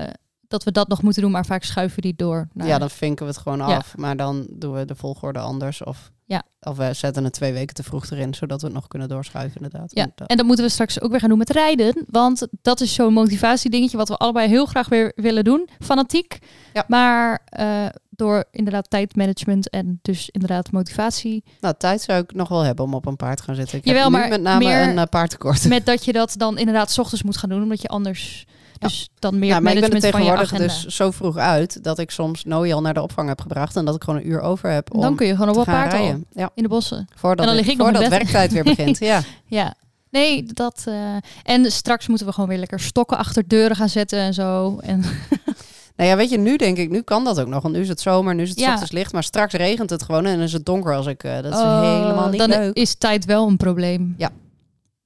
S4: dat we dat nog moeten doen, maar vaak schuiven we die door. naar-
S3: Ja, dan vinken we het gewoon
S4: Nou Ja.
S3: af. Maar dan doen we de volgorde anders. Of,
S4: Ja.
S3: of we zetten het twee weken te vroeg erin... zodat we het nog kunnen doorschuiven inderdaad.
S4: Ja,
S3: Want eh, dat-
S4: en dat moeten we straks ook weer gaan doen met rijden. Want dat is zo'n motivatiedingetje wat we allebei heel graag weer willen doen. Fanatiek.
S3: Ja.
S4: Maar eh, door inderdaad tijdmanagement en dus inderdaad
S3: (laughs)
S4: motivatie.
S3: Nou, tijd zou ik nog wel hebben om op een paard te gaan zitten. Ik
S4: Jawel,
S3: heb nu
S4: maar
S3: met name
S4: meer-
S3: een eh, paardtekort. (laughs)
S4: Met dat je dat dan inderdaad 's ochtends moet gaan doen. Omdat je anders dus dan meer
S3: Ja, Nou, maar ik ben er
S4: management van je
S3: tegenwoordig
S4: agenda.
S3: dus zo vroeg uit dat ik soms Noël naar de opvang heb gebracht en dat ik gewoon een uur over heb om
S4: dan kun je gewoon op
S3: te
S4: een
S3: gaan
S4: paard al.
S3: rijden. Ja,
S4: In de bossen.
S3: voordat,
S4: En dan
S3: ik-
S4: lig ik nog in
S3: voordat
S4: bed.
S3: werktijd
S4: (laughs)
S3: weer begint. Ja.
S4: Ja. Nee, dat. eh, en straks moeten we gewoon weer lekker stokken achter deuren gaan zetten en zo. En
S3: Nou ja, weet je, nu denk ik, nu kan dat ook nog. Want nu is het zomer, nu is het
S4: Ja.
S3: ochtends licht, maar straks regent het gewoon en is het donker als ik. eh, dat is
S4: Oh,
S3: helemaal niet
S4: dan
S3: leuk.
S4: is tijd wel een probleem.
S3: Ja.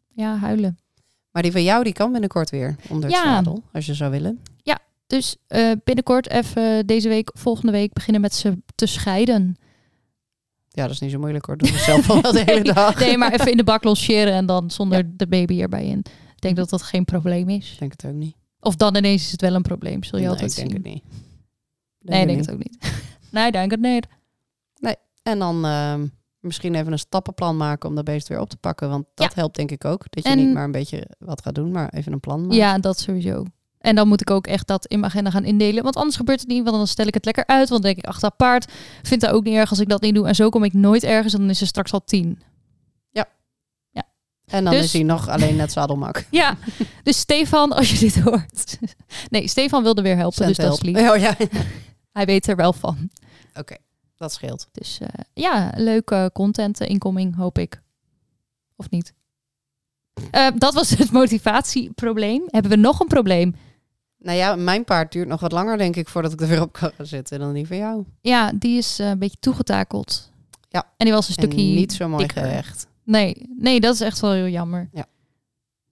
S4: Ja, huilen.
S3: Maar die van jou, die kan binnenkort weer onder het
S4: Ja.
S3: zadel, als je zou willen.
S4: Dus eh, binnenkort even deze week, volgende week beginnen met ze te scheiden.
S3: Ja, dat is niet zo moeilijk hoor. Doen we zelf al wel
S4: (laughs)
S3: de hele dag.
S4: Nee, maar even in de bak logeren en dan zonder de baby erbij in. Ik denk dat dat geen probleem
S3: Ik
S4: is.
S3: denk het ook niet.
S4: Of dan ineens is het wel een probleem. Zul je
S3: Nee,
S4: altijd
S3: ik denk
S4: zien.
S3: het niet.
S4: nee,
S3: het
S4: ik denk
S3: niet.
S4: het ook niet. nee, denk het niet.
S3: En dan ehm, misschien even een stappenplan maken om dat beest weer op te pakken. Want dat helpt denk ik ook. Dat je
S4: En-
S3: niet maar een beetje wat gaat doen, maar even een plan maken.
S4: Ja, dat sowieso. En dan moet ik ook echt dat in mijn agenda gaan indelen. Want anders gebeurt het niet. Want dan stel ik het lekker uit. Want dan denk ik, ach, dat paard vindt dat ook niet erg als ik dat niet doe. En zo kom ik nooit ergens. En dan is er straks al tien.
S3: En dan
S4: Dus-
S3: is hij nog alleen net
S4: (laughs)
S3: zadelmak.
S4: Ja, dus Stefan, als je dit hoort. Nee, Stefan wilde weer helpen,
S3: Cent
S4: dus dat is
S3: help.
S4: lief.
S3: Oh ja, (laughs) oké.
S4: Hij weet er wel van.
S3: Dat scheelt.
S4: Dus eh, ja, leuke content eh, incoming, hoop ik. Of niet? Eh, dat was het (laughs) motivatieprobleem. Hebben we nog een probleem?
S3: Nou ja, mijn paard duurt nog wat langer, denk ik, voordat ik er weer op kan gaan zitten dan die van jou.
S4: Ja, die is eh, een beetje toegetakeld.
S3: Ja.
S4: En die was een
S3: En
S4: stukje
S3: niet zo mooi
S4: dikker.
S3: gerecht.
S4: Nee, nee, dat is echt wel heel jammer.
S3: Ja.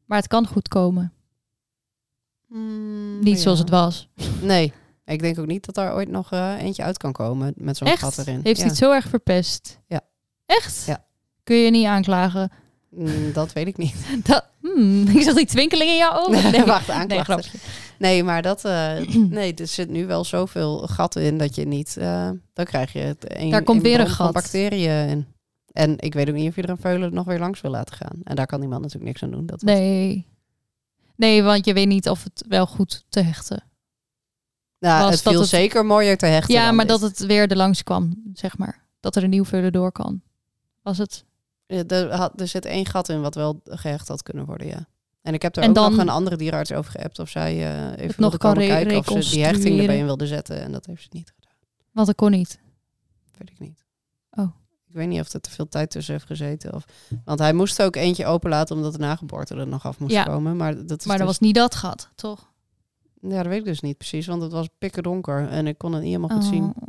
S4: Maar het kan goed komen.
S3: Mm,
S4: Niet zoals het was.
S3: Nee, ik denk ook niet dat daar ooit nog eh, eentje uit kan komen met zo'n gat
S4: Echt?
S3: erin.
S4: Heeft
S3: Ja.
S4: hij het zo erg verpest?
S3: Ja.
S4: Echt?
S3: Ja.
S4: Kun je niet
S3: (laughs)
S4: aanklagen?
S3: Mm, dat weet ik niet.
S4: Dat, hmm, (laughs) ik zag die twinkeling in
S3: (laughs)
S4: jouw ogen. Oh, Nee,
S3: Wacht,
S4: nee,
S3: aanklachten.
S4: grapje.
S3: Nee, maar dat,
S4: (clears throat)
S3: eh, nee, er zit nu wel zoveel gaten in dat je niet, eh, dan krijg je het een,
S4: Daar komt weer
S3: bron
S4: een
S3: van
S4: gat.
S3: bacteriën in. En ik weet ook niet of je er een veulen nog weer langs wil laten gaan. En daar kan iemand natuurlijk niks aan doen. Dat
S4: Nee. Nee, want je weet niet of het wel goed te hechten.
S3: nou,
S4: was
S3: het
S4: dat
S3: viel
S4: het-
S3: zeker mooier te hechten.
S4: ja,
S3: dan
S4: maar
S3: dit.
S4: dat het weer er langs kwam, zeg maar. Dat er een nieuw verder door kan. Was het?
S3: Eh, Er, had, er zit één gat in wat wel gehecht had kunnen worden, ja. En ik heb daar
S4: En
S3: ook
S4: dan-
S3: nog een andere dierenarts over geappt of zij eh, even
S4: nog
S3: wilde
S4: kan
S3: komen
S4: re-
S3: kijken of ze die hechting erbij in
S4: reconstrueren.
S3: wilde zetten. En dat heeft ze niet gedaan.
S4: Want dat kon niet.
S3: Weet ik niet.
S4: Oh.
S3: Ik weet niet of er te veel tijd tussen heeft gezeten. Of... Want hij moest ook eentje openlaten omdat de nageboorte er nog af moest
S4: Ja.
S3: komen. Maar dat, is
S4: Maar dat
S3: dus-
S4: was niet dat gat, toch?
S3: ja, dat weet ik dus niet precies, want het was pikken donker en ik kon het niet helemaal goed zien.
S4: Oh.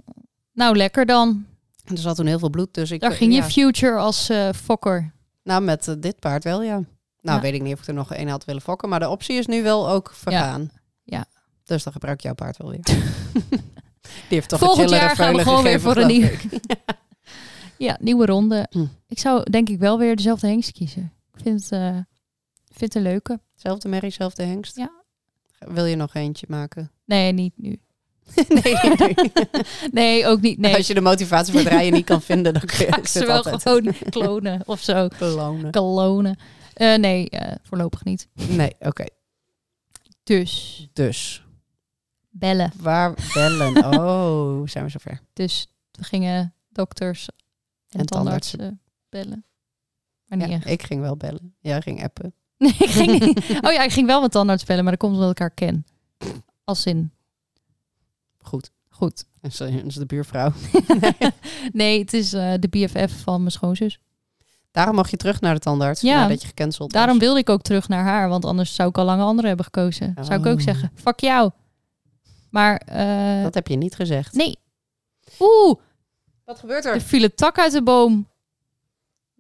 S4: Nou, lekker dan.
S3: En Er zat toen heel veel bloed, dus ik...
S4: Daar ging
S3: ja.
S4: je future als eh, fokker.
S3: Nou, met eh, dit paard wel, ja. Nou,
S4: Ja.
S3: weet ik niet of ik er nog één had willen fokken, maar de optie is nu wel ook vergaan.
S4: Ja.
S3: Dus dan gebruik ik jouw paard
S4: (laughs)
S3: wel weer. Die heeft toch
S4: Volgend
S3: een chillere
S4: jaar gaan we
S3: veulen
S4: gewoon weer
S3: gegeven,
S4: voor een
S3: geloof
S4: nieuw.
S3: ik.
S4: (laughs)
S3: (laughs)
S4: Ja, nieuwe ronde.
S3: Hm.
S4: Ik zou denk ik wel weer dezelfde hengst kiezen. Ik vind het, eh, ik vind het een leuke.
S3: Zelfde merrie, zelfde hengst.
S4: Ja.
S3: Wil je nog eentje
S4: (laughs)
S3: maken?
S4: Nee, niet
S3: (laughs)
S4: nu.
S3: nee, nee.
S4: Nee, ook niet.
S3: (laughs)
S4: Nee,
S3: Als je de motivatie voor het rijden niet kan vinden,
S4: (laughs)
S3: dan (laughs) kun je
S4: ga ik
S3: zit
S4: ze wel
S3: altijd
S4: gewoon klonen of zo.
S3: belonen.
S4: Klonen. Eh, nee, eh, voorlopig niet.
S3: Nee, oké.
S4: Dus
S3: Dus,
S4: bellen.
S3: waar bellen?
S4: (laughs)
S3: Oh, zijn we zover.
S4: Dus we gingen dokters en,
S3: En
S4: tandartsen bellen. Maar niet
S3: Ja,
S4: echt. (laughs)
S3: ik ging wel bellen. Jij ging appen.
S4: Nee, ik ging niet. Oh ja, ik ging wel met tandarts bellen, maar dat komt omdat ik haar ken. Als in,
S3: Goed.
S4: goed.
S3: En ze en ze de buurvrouw.
S4: (laughs) nee, het is eh, de BFF van mijn schoonzus.
S3: Daarom mag je terug naar de tandarts
S4: Ja.
S3: nadat je gecanceld was.
S4: Daarom wilde ik ook terug naar haar, want anders zou ik al lang een andere hebben gekozen. Zou ik ook
S3: Oh.
S4: zeggen, fuck jou. Maar, eh,
S3: Dat heb je niet gezegd.
S4: nee. Dus- Oeh,
S3: Wat gebeurt
S4: er viel een tak uit de boom.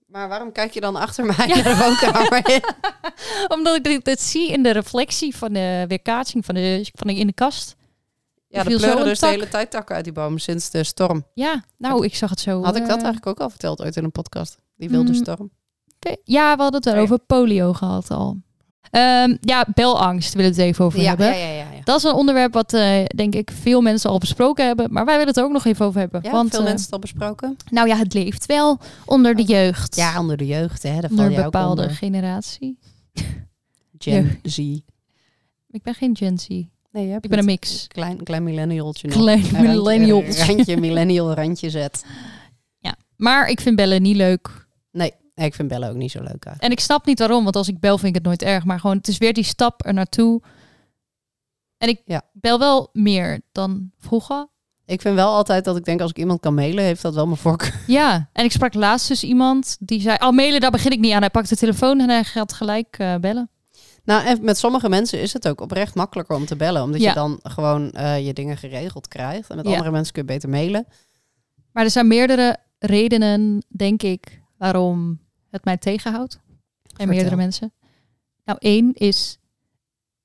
S3: Maar waarom kijk je dan achter mij naar de woonkamer
S4: (laughs)
S3: in?
S4: Omdat ik dit, dit zie in de reflectie van de weerkaatsing van de, van de, in de kast.
S3: Ja,
S4: viel
S3: er
S4: zo
S3: pleuren
S4: een
S3: dus
S4: tak.
S3: de hele tijd takken uit die boom sinds de storm.
S4: Ja, nou, ik zag het zo.
S3: Had ik dat
S4: eh,
S3: eigenlijk ook al verteld ooit in een podcast? Die wilde
S4: Mm.
S3: storm.
S4: pe- Ja, we hadden het
S3: Oh ja.
S4: over polio gehad al. Ehm, ja, belangst willen we het even over hebben.
S3: ja, ja, ja.
S4: Dat is een onderwerp wat, eh, denk ik, veel mensen al besproken hebben. Maar wij willen het er ook nog even over hebben.
S3: Ja,
S4: want,
S3: veel
S4: eh,
S3: mensen het al besproken.
S4: Nou ja, het leeft wel onder de jeugd.
S3: Ja, onder de jeugd, hè. Daar
S4: onder
S3: val
S4: een
S3: je ook
S4: bepaalde
S3: onder.
S4: generatie.
S3: Gen Z. Nee,
S4: Ik ben geen Gen Z. Ik
S3: jij
S4: ben een
S3: bent
S4: mix.
S3: een Klein, klein millennialtje nog.
S4: Klein
S3: Een randje-
S4: millennial.
S3: (laughs) Een randje millennial randje zet.
S4: Maar ik vind bellen niet leuk.
S3: Nee, ik vind bellen ook niet zo leuk uit.
S4: En ik snap niet waarom, want als ik bel vind ik het nooit erg. Maar gewoon, het is weer die stap er naartoe. En ik
S3: Ja.
S4: bel wel meer dan vroeger.
S3: Ik vind wel altijd dat ik denk, als ik iemand kan mailen, heeft dat wel mijn voorkeur.
S4: Ja, en ik sprak laatst dus iemand die zei... Oh, mailen, daar begin ik niet aan. Hij pakt de telefoon en hij gaat gelijk eh, bellen.
S3: Nou, en met sommige mensen is het ook oprecht makkelijker om te bellen. Omdat
S4: Ja.
S3: je dan gewoon eh, je dingen geregeld krijgt. En met
S4: Ja.
S3: andere mensen kun je beter mailen.
S4: Maar er zijn meerdere redenen, denk ik, waarom het mij tegenhoudt. En meerdere mensen. Nou, één is,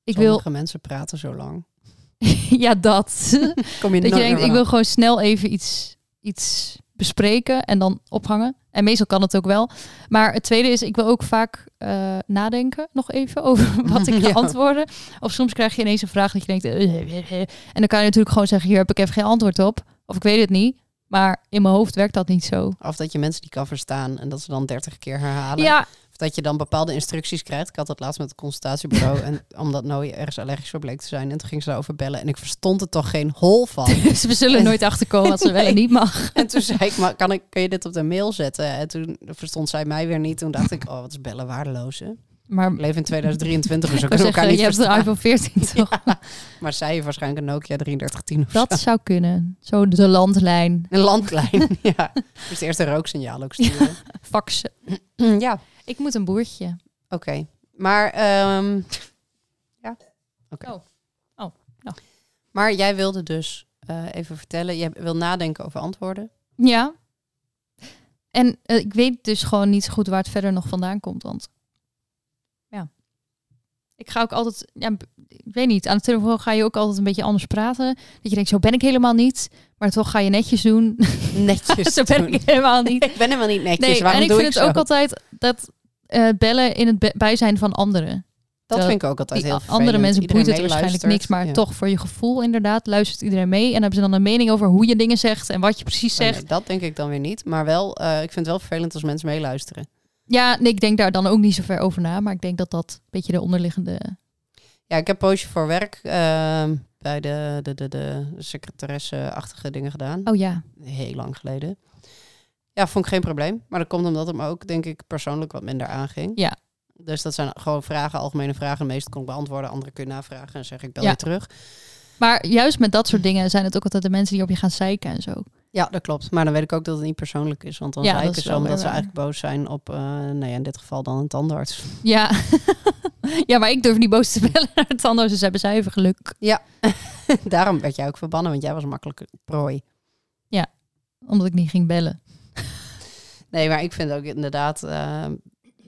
S4: ik wil,
S3: Sommige mensen praten zo lang.
S4: (laughs) ja dat.
S3: Kom je
S4: dat je
S3: nooit
S4: denkt,
S3: meer
S4: ik wil
S3: vanaf.
S4: gewoon snel even iets, iets bespreken en dan ophangen. En meestal kan het ook wel. Maar het tweede is, ik wil ook vaak eh, nadenken nog even over (laughs)
S3: (laughs)
S4: wat ik ga
S3: Ja.
S4: antwoorden. Of soms krijg je ineens een vraag dat je denkt... eh, eh, eh, eh. en dan kan je natuurlijk gewoon zeggen, hier heb ik even geen antwoord op. Of ik weet het niet. Maar in mijn hoofd werkt dat niet zo.
S3: Of dat je mensen die kan verstaan en dat ze dan dertig keer herhalen.
S4: Ja,
S3: Of dat je dan bepaalde instructies krijgt. Ik had dat laatst met het consultatiebureau. en (laughs) omdat Noe ergens allergisch voor bleek te zijn. En toen ging ze daarover bellen. En ik verstond er toch geen hol van.
S4: (laughs) Dus we zullen nooit achterkomen wat ze wel en niet mag.
S3: en toen zei ik, maar kan ik, kun je dit op de mail zetten? En toen verstond zij mij weer niet. Toen dacht ik, oh, wat is bellen waardeloze.
S4: Maar
S3: Ik leef
S4: (laughs)
S3: in 2023, dus we
S4: ik wou
S3: kunnen elkaar
S4: zeggen,
S3: niet
S4: je hebt de
S3: verstaan.
S4: iPhone 14 toch?
S3: (laughs) Maar zij heeft waarschijnlijk een Nokia 3310 of
S4: Dat zou kunnen. Zo de landlijn,
S3: (laughs) Een
S4: (laughs)
S3: landlijn, ja. Dus eerst een rooksignaal ook sturen.
S4: faxen. (clears throat)
S3: Ja, oké.
S4: Ik moet een boertje.
S3: Maar, ehm, ja. oké.
S4: Oh. Oh, nou.
S3: Maar jij wilde dus eh, even vertellen, jij wil nadenken over antwoorden.
S4: Ja. En eh, ik weet dus gewoon niet zo goed waar het verder nog vandaan komt. Want ja. Ik ga ook altijd, ja, b- ik weet niet, aan de telefoon ga je ook altijd een beetje anders praten. Dat je denkt, zo ben ik helemaal niet. Maar toch ga je netjes doen.
S3: (laughs) Netjes
S4: (laughs) zo ben
S3: doen.
S4: ik helemaal niet.
S3: Ik ben helemaal niet (laughs) netjes,
S4: Nee,
S3: waarom
S4: en ik
S3: doe
S4: vind het
S3: zo?
S4: ook altijd dat eh, bellen in het be- bijzijn van anderen.
S3: Dat
S4: dat
S3: vind ik ook altijd
S4: eh, Die
S3: heel
S4: a-
S3: vervelend.
S4: andere mensen
S3: Iedereen
S4: boeit het waarschijnlijk
S3: meeluistert.
S4: niks, maar
S3: Ja.
S4: toch voor je gevoel inderdaad luistert iedereen mee. En hebben ze dan een mening over hoe je dingen zegt en wat je precies
S3: Oh, nee,
S4: zegt.
S3: dat denk ik dan weer niet. Maar wel, eh, ik vind het wel vervelend als mensen meeluisteren.
S4: Ja, nee, ik denk daar dan ook niet zo ver over na. Maar ik denk dat dat een beetje de onderliggende...
S3: Ja, ik heb een poosje voor werk ehm, bij de, de, de, de secretaresse-achtige dingen gedaan.
S4: Oh ja.
S3: Heel lang geleden. Ja, vond ik geen probleem. Maar dat komt omdat het me ook, denk ik, persoonlijk wat minder aanging.
S4: Ja.
S3: Dus dat zijn gewoon vragen, algemene vragen. De meeste kon ik beantwoorden, andere kun je navragen. En zeg ik bel
S4: Ja.
S3: je terug.
S4: Maar juist met dat soort dingen zijn het ook altijd de mensen die op je gaan zeiken en zo.
S3: Ja, dat klopt. Maar dan weet ik ook dat het niet persoonlijk is. Want dan
S4: Ja,
S3: zei
S4: dat
S3: ik
S4: is
S3: het zo
S4: wel
S3: omdat
S4: weer
S3: ze
S4: waar.
S3: eigenlijk boos zijn op, eh, nou ja, in dit geval dan een tandarts. (laughs)
S4: Ja, (laughs) ja maar ik durf niet boos te bellen naar het anders. Dus hebben zij even geluk.
S3: Daarom werd jij ook verbannen, want jij was makkelijk prooi.
S4: Omdat ik niet ging bellen.
S3: Nee, maar ik vind het ook inderdaad eh,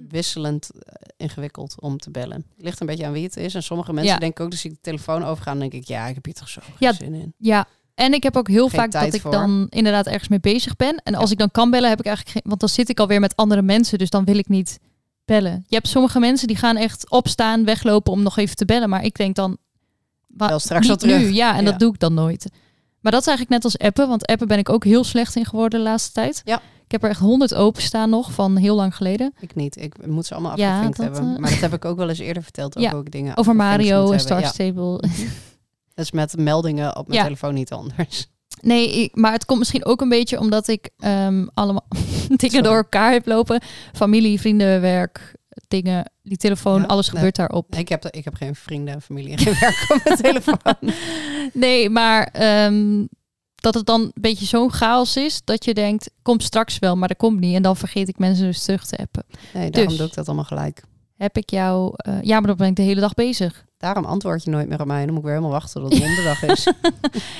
S3: wisselend eh, ingewikkeld om te bellen. Het ligt een beetje aan wie het is. En sommige mensen
S4: Ja.
S3: denken ook, dus ik de telefoon overgaan, dan denk ik, ja, ik heb hier toch zo geen
S4: Ja,
S3: zin in.
S4: Ja, en ik heb ook heel
S3: Geen
S4: vaak dat
S3: tijd
S4: ik
S3: voor.
S4: dan inderdaad ergens mee bezig ben. En als ik dan kan bellen, heb ik eigenlijk geen... Want dan zit ik alweer met andere mensen, dus dan wil ik niet bellen. Je hebt sommige mensen die gaan echt opstaan, weglopen om nog even te bellen. Maar ik denk dan... wa-
S3: Wel straks al
S4: niet
S3: terug.
S4: ah, nu, ja, en
S3: Ja.
S4: dat doe ik dan nooit. Maar dat is eigenlijk net als appen, want appen ben ik ook heel slecht in geworden de laatste tijd.
S3: Ja.
S4: Ik heb er echt honderd openstaan nog van heel lang geleden.
S3: Ik niet. Ik moet ze allemaal
S4: Ja,
S3: afgevinkt
S4: dat,
S3: hebben.
S4: eh.
S3: Maar dat
S4: (laughs)
S3: heb ik ook wel eens eerder verteld. Ook
S4: Ja,
S3: hoe ik dingen
S4: Over
S3: afgevinkt
S4: Mario
S3: moet
S4: en
S3: hebben.
S4: Star
S3: Ja,
S4: Stable.
S3: dat is met meldingen op mijn
S4: Ja.
S3: telefoon niet
S4: (laughs)
S3: anders.
S4: (laughs) Nee, ik- maar het komt misschien ook een beetje omdat ik ehm, allemaal (laughs) dingen
S3: Sorry.
S4: door elkaar heb lopen. Familie, vrienden, werk, dingen, die telefoon,
S3: Ja,
S4: alles
S3: nee.
S4: gebeurt daarop.
S3: Ik heb, ik heb geen vrienden en familie en geen werk op
S4: (laughs)
S3: mijn telefoon.
S4: Nee, maar ehm, dat het dan een beetje zo'n chaos is dat je denkt, kom straks wel, maar dat komt niet. En dan vergeet ik mensen dus terug te appen.
S3: Nee, daarom
S4: Dus.
S3: doe ik dat allemaal gelijk.
S4: Heb ik jou... eh, ja, maar dan ben ik de hele dag bezig.
S3: Daarom antwoord je nooit meer op mij. Dan moet ik weer helemaal wachten
S4: (laughs)
S3: tot het donderdag is.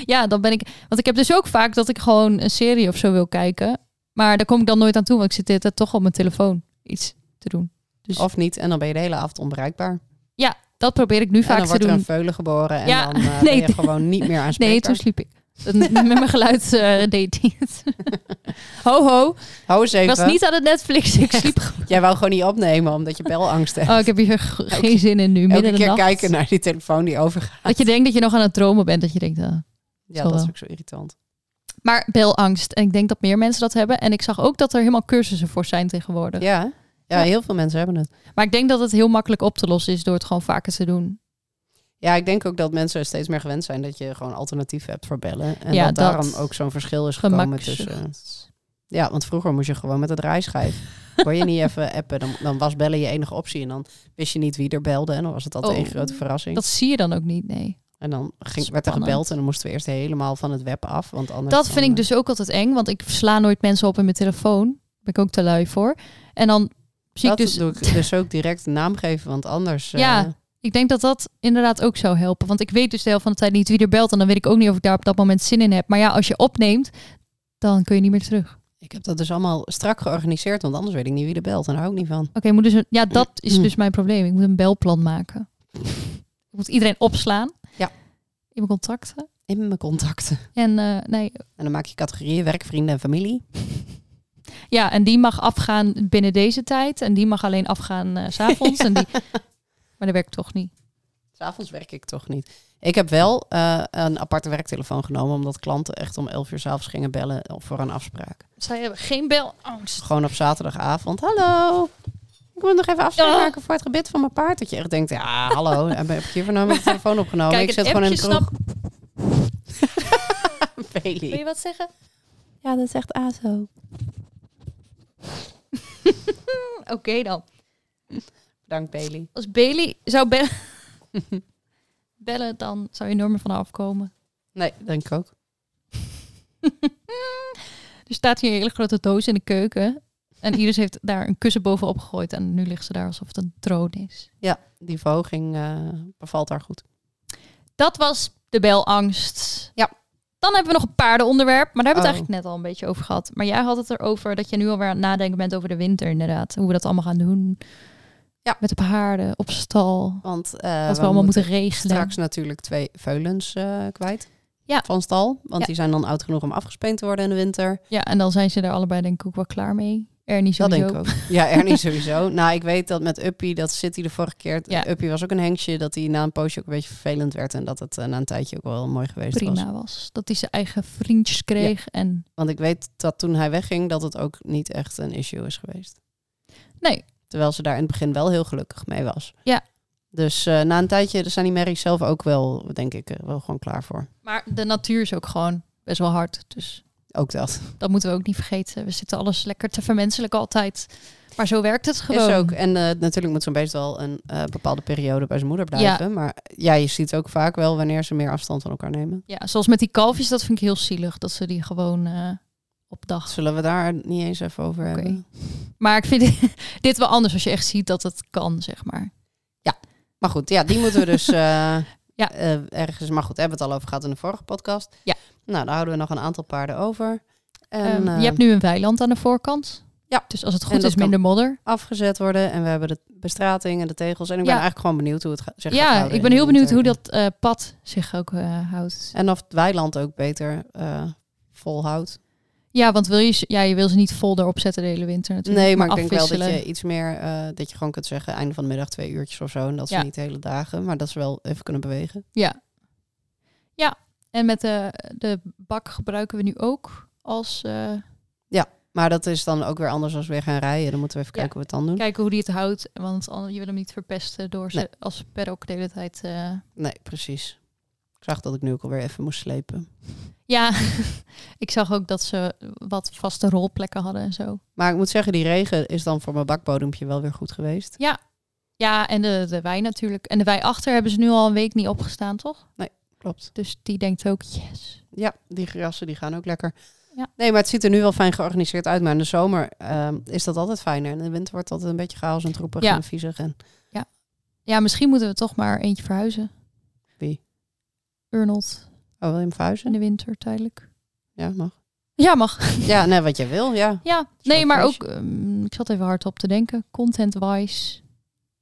S4: Ja, dan ben ik. Want ik heb dus ook vaak dat ik gewoon een serie of zo wil kijken. Maar daar kom ik dan nooit aan toe, want ik zit de hele tijd toch op mijn telefoon iets te doen.
S3: Of niet. En dan ben je de hele avond onbereikbaar.
S4: Dat probeer ik nu
S3: en
S4: vaak
S3: dan
S4: te
S3: wordt er een
S4: doen.
S3: veulen geboren en
S4: Ja,
S3: dan eh,
S4: (laughs) nee,
S3: ben je gewoon niet meer
S4: Nee,
S3: aanspreekbaar.
S4: toen sliep ik. Dat- Met
S3: (laughs)
S4: mijn geluid eh deed hij het. Ho, ho.
S3: Hou eens
S4: Ik
S3: even.
S4: was niet aan het Netflix. Ik
S3: Echt?
S4: sliep gewoon.
S3: Jij wou gewoon niet opnemen omdat je belangst hebt.
S4: (laughs) Oh, ik heb hier g- geen zin in nu. Midden
S3: Elke
S4: in de
S3: keer
S4: nacht.
S3: kijken naar die telefoon die overgaat.
S4: Dat je denkt dat je nog aan het dromen bent. Dat je denkt, ah.
S3: Ja,
S4: Zal
S3: dat is
S4: wel.
S3: ook zo irritant.
S4: Maar belangst. En ik denk dat meer mensen dat hebben. En ik zag ook dat er helemaal cursussen voor zijn tegenwoordig.
S3: Ja, ja,
S4: Ja.
S3: heel veel mensen hebben het.
S4: Maar ik denk dat het heel makkelijk op te lossen is door het gewoon vaker te doen.
S3: Ja, ik denk ook dat mensen steeds meer gewend zijn dat je gewoon alternatieven hebt voor bellen. En
S4: Ja,
S3: dat,
S4: dat
S3: daarom ook zo'n verschil is gekomen
S4: Gemakzucht.
S3: tussen... Ja, want vroeger moest je gewoon met het
S4: (laughs)
S3: draaischijf. Kon je niet even appen, dan, dan was bellen je enige optie. En dan wist je niet wie er belde en dan was het altijd
S4: Oh.
S3: één grote verrassing.
S4: Dat zie je dan ook niet, nee.
S3: En dan ging, werd er
S4: Spannend.
S3: gebeld en dan moesten we eerst helemaal van het web af. Want anders
S4: Dat vind
S3: dan, eh,
S4: ik dus ook altijd eng, want ik sla nooit mensen op in mijn telefoon. Daar ben ik ook te lui voor. En dan zie
S3: dat
S4: ik dus...
S3: doe ik dus ook direct een naam geven, want anders...
S4: Ja.
S3: eh,
S4: Ik denk dat dat inderdaad ook zou helpen. Want ik weet dus de helft van de tijd niet wie er belt. En dan weet ik ook niet of ik daar op dat moment zin in heb. Maar ja, als je opneemt, dan kun je niet meer terug. Oké,
S3: ik heb dat dus allemaal strak georganiseerd, want anders weet ik niet wie er belt. En daar hou ik niet van.
S4: ik moet dus een- ja, dat is
S3: Mm.
S4: dus mijn probleem. Ik moet een belplan
S3: (laughs)
S4: maken. Ik moet iedereen opslaan.
S3: Ja.
S4: In mijn contacten.
S3: In mijn contacten.
S4: En eh, nee,
S3: En dan maak je categorieën, werk, vrienden en familie.
S4: Ja, en die mag afgaan binnen deze tijd. En die mag alleen afgaan eh,
S3: (laughs)
S4: s s'avonds. en die... Maar dat werkt toch niet.
S3: S'avonds werk ik toch niet. Ik heb wel eh, een aparte werktelefoon genomen, omdat klanten echt om 11 uur s'avonds gingen bellen voor een afspraak. Oh,
S4: Zij hebben geen belangst.
S3: Gewoon op zaterdagavond. Hallo, Ik moet nog even afstand
S4: Oh.
S3: maken voor het gebit van mijn paard. Dat je echt denkt, ja,
S4: (laughs)
S3: hallo, heb ik je van nou mijn telefoon opgenomen?
S4: Kijk,
S3: ik
S4: het
S3: zit gewoon in de
S4: appje
S3: kroeg. (laughs)
S4: snap... Wil je wat zeggen?
S3: Ja, dat is echt aso.
S4: Hm, Oké dan.
S3: Dank Bailey.
S4: Als Bailey
S3: (laughs)
S4: zou bellen... bellen, dan zou je enorm van afkomen. (laughs)
S3: Nee, denk ik ook.
S4: Er staat hier een hele grote doos in de keuken. En Iris heeft daar een kussen bovenop gegooid. En nu ligt ze daar alsof het een troon is.
S3: Ja, die verhoging eh, bevalt haar goed.
S4: Dat was de belangst.
S3: Ja.
S4: Dan hebben we nog een paardenonderwerp. Maar daar hebben we het
S3: Oh.
S4: eigenlijk net al een beetje over gehad. Maar jij had het erover dat je nu alweer aan het nadenken bent over de winter inderdaad. Hoe we dat allemaal gaan doen.
S3: Ja.
S4: Met de paarden, op stal.
S3: Want eh,
S4: dat we allemaal
S3: moeten
S4: moeten regelen.
S3: straks natuurlijk twee veulens eh, kwijt.
S4: Ja.
S3: Van stal. Want
S4: Ja.
S3: die zijn dan oud genoeg om afgespeend te worden in de winter.
S4: Ja, en dan zijn ze daar allebei denk ik ook wel klaar mee. Ernie
S3: Dat
S4: sowieso.
S3: denk ik ook. Ja, Ernie
S4: (laughs)
S3: sowieso. Nou, ik weet dat met Uppie, dat zit hij de vorige keer.
S4: Ja.
S3: Uppie was ook een hengstje, dat hij na een poosje ook een beetje vervelend werd. En dat het eh, na een tijdje ook wel mooi geweest was.
S4: Prima was. Dat hij zijn eigen vriendjes kreeg. En
S3: Want ik weet dat toen hij wegging, dat het ook niet echt een issue is geweest.
S4: Nee.
S3: Terwijl ze daar in het begin wel heel gelukkig mee was.
S4: Ja.
S3: Dus eh, na een tijdje zijn die merries zelf ook wel, denk ik, eh, wel gewoon klaar voor.
S4: Maar de natuur is ook gewoon best wel hard. Dus
S3: Ook dat.
S4: dat moeten we ook niet vergeten. We zitten alles lekker te vermenselijken altijd. Maar zo werkt het gewoon.
S3: Is ook. En eh, natuurlijk moet zo'n beest wel een eh, bepaalde periode bij zijn moeder blijven. Maar ja, je ziet ook vaak wel wanneer ze meer afstand van elkaar nemen.
S4: Ja, zoals met die kalfjes, dat vind ik heel zielig. Dat ze die gewoon eh, op dag.
S3: Zullen we daar niet eens even over
S4: Oké.
S3: hebben?
S4: Maar ik vind (laughs) dit wel anders als je echt ziet dat het kan, zeg maar.
S3: Maar goed, ja, die moeten we
S4: (laughs)
S3: dus eh,
S4: Ja.
S3: eh, ergens. Maar goed, hebben we het al over gehad in de vorige podcast.
S4: Ja.
S3: Nou, dan houden we nog een aantal paarden over. En,
S4: Ehm,
S3: eh,
S4: je hebt nu een weiland aan de voorkant.
S3: Ja.
S4: Dus als het
S3: En
S4: goed
S3: dat
S4: is, minder modder.
S3: afgezet worden. En we hebben de bestrating en de tegels. En ik ben
S4: Ja.
S3: eigenlijk gewoon benieuwd hoe het gaat. zich gaat
S4: Ja,
S3: houden
S4: ik ben
S3: in
S4: heel
S3: de
S4: benieuwd hoe
S3: winter.
S4: dat eh, pad zich ook eh, houdt.
S3: En of het weiland ook beter eh, volhoudt.
S4: Ja, want wil je, ze- ja, je wil ze niet vol erop zetten de hele winter natuurlijk.
S3: Nee, maar ik denk wel dat
S4: afwisselen.
S3: je iets meer, eh, dat je gewoon kunt zeggen, einde van de middag twee uurtjes of zo. En dat ze
S4: Ja.
S3: niet de hele dagen, maar dat ze wel even kunnen bewegen.
S4: Ja. Ja, en met de, de bak gebruiken we nu ook als... eh,
S3: Maar dat is dan ook weer anders als we weer gaan rijden. Dan moeten we even
S4: Ja.
S3: kijken hoe we het dan doen.
S4: kijken hoe die het houdt, want an- je wil hem niet verpesten door ze
S3: Nee.
S4: als paddock de hele tijd... eh,
S3: Nee, precies. Ik zag dat ik nu ook alweer even moest slepen.
S4: Ja, (laughs) ik zag ook dat ze wat vaste rolplekken hadden en zo.
S3: Maar ik moet zeggen, die regen is dan voor mijn bakbodempje wel weer goed geweest.
S4: Ja, en de, de wei natuurlijk. En de wei achter hebben ze nu al een week niet opgestaan, toch?
S3: Klopt.
S4: Dus die denkt ook, yes.
S3: Ja, die grassen die gaan ook lekker.
S4: Ja.
S3: Nee, maar het ziet er nu wel fijn georganiseerd uit. Maar in de zomer ehm, is dat altijd fijner. En in de winter wordt het altijd een beetje chaos en troepig
S4: Ja.
S3: en viezig. En
S4: Ja, misschien moeten we toch maar eentje verhuizen.
S3: Wie?
S4: Arnold
S3: oh, wil je hem verhuizen?
S4: in de winter tijdelijk.
S3: Ja, mag.
S4: Ja, mag.
S3: Ja, nee, wat je wil, ja.
S4: (laughs) Ja,
S3: wel
S4: nee, maar
S3: fresh.
S4: ook, ehm, ik zat even hardop te denken, content-wise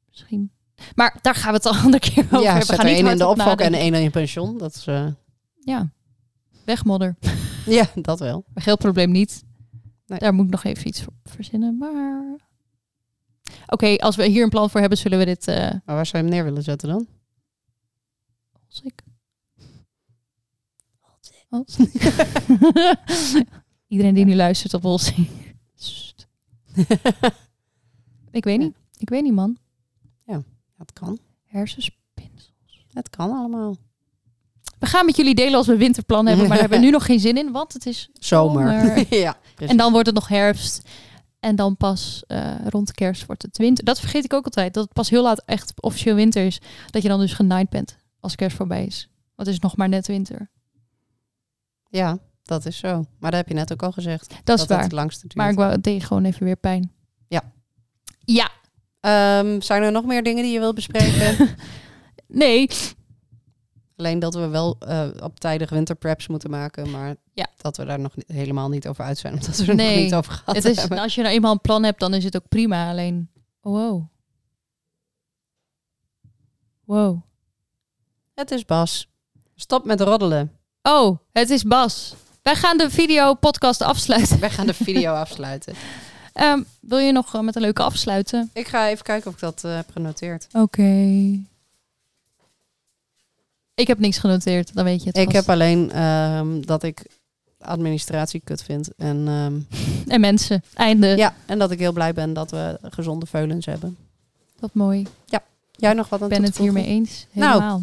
S4: misschien. Maar daar gaan we het al een andere keer over
S3: ja,
S4: hebben.
S3: zet
S4: We gaan
S3: er
S4: niet
S3: één in de
S4: hardop
S3: opvak en
S4: nadenken.
S3: één in je pension. Dat is, eh, (laughs)
S4: Ja, wegmodder.
S3: ja, dat wel.
S4: Maar geel probleem niet.
S3: Nee.
S4: Daar moet ik nog even iets voor verzinnen, maar... Oké, als we hier een plan voor hebben, zullen we dit... eh,
S3: Maar waar zou je hem neer willen zetten dan? (laughs)
S4: als ik...
S3: (laughs)
S4: Iedereen die nu luistert op ons. Sst. ik weet
S3: Ja.
S4: niet. Ik weet niet, man.
S3: het kan.
S4: Hersenspinsel.
S3: Het kan allemaal.
S4: We gaan met jullie delen als we winterplannen hebben, maar daar hebben we
S3: (laughs)
S4: nu nog geen zin in, want het is...
S3: Zomer.
S4: Zomer.
S3: (laughs) ja, precies.
S4: En dan wordt het nog herfst. En dan pas eh, rond de kerst wordt het winter. Dat vergeet ik ook altijd, dat het pas heel laat echt officieel winter is. Dat je dan dus genaaid bent als kerst voorbij is. Want het is nog maar net winter.
S3: Ja, dat is zo. Maar dat heb je net ook al gezegd.
S4: Dat,
S3: Dat
S4: is
S3: het
S4: waar.
S3: het langste duurt.
S4: Maar ik wou, het deed gewoon even weer pijn.
S3: Ja.
S4: Ja.
S3: Ehm, zijn er nog meer dingen die je wilt
S4: (laughs)
S3: bespreken? (laughs)
S4: Nee.
S3: Alleen dat we wel eh, op tijdig winterpreps moeten maken. Maar
S4: Ja.
S3: dat we daar nog niet- helemaal niet over uit zijn. (laughs) Omdat we er nog
S4: Nee.
S3: niet over gehad
S4: Het is,
S3: hebben.
S4: als je nou eenmaal een plan hebt, dan is het ook prima. Alleen, oh, wow. Wow.
S3: Het is Bas. Stop met roddelen.
S4: Oh, het is Bas. Wij gaan de video-podcast afsluiten.
S3: Wij gaan de
S4: (laughs)
S3: video afsluiten.
S4: Ehm, wil je nog eh, met een leuke afsluiten?
S3: Ik ga even kijken of ik dat eh, heb genoteerd.
S4: Oké. Ik heb niks genoteerd, dan weet je het.
S3: Ik
S4: vast.
S3: heb alleen ehm, dat ik administratie kut vind. En, ehm,
S4: En mensen, einde.
S3: ja, en dat ik heel blij ben dat we gezonde veulens hebben.
S4: Wat mooi.
S3: Jij nog wat aan
S4: Ik ben
S3: toe
S4: het
S3: te voegen?
S4: hiermee eens.
S3: Nou.
S4: Helemaal.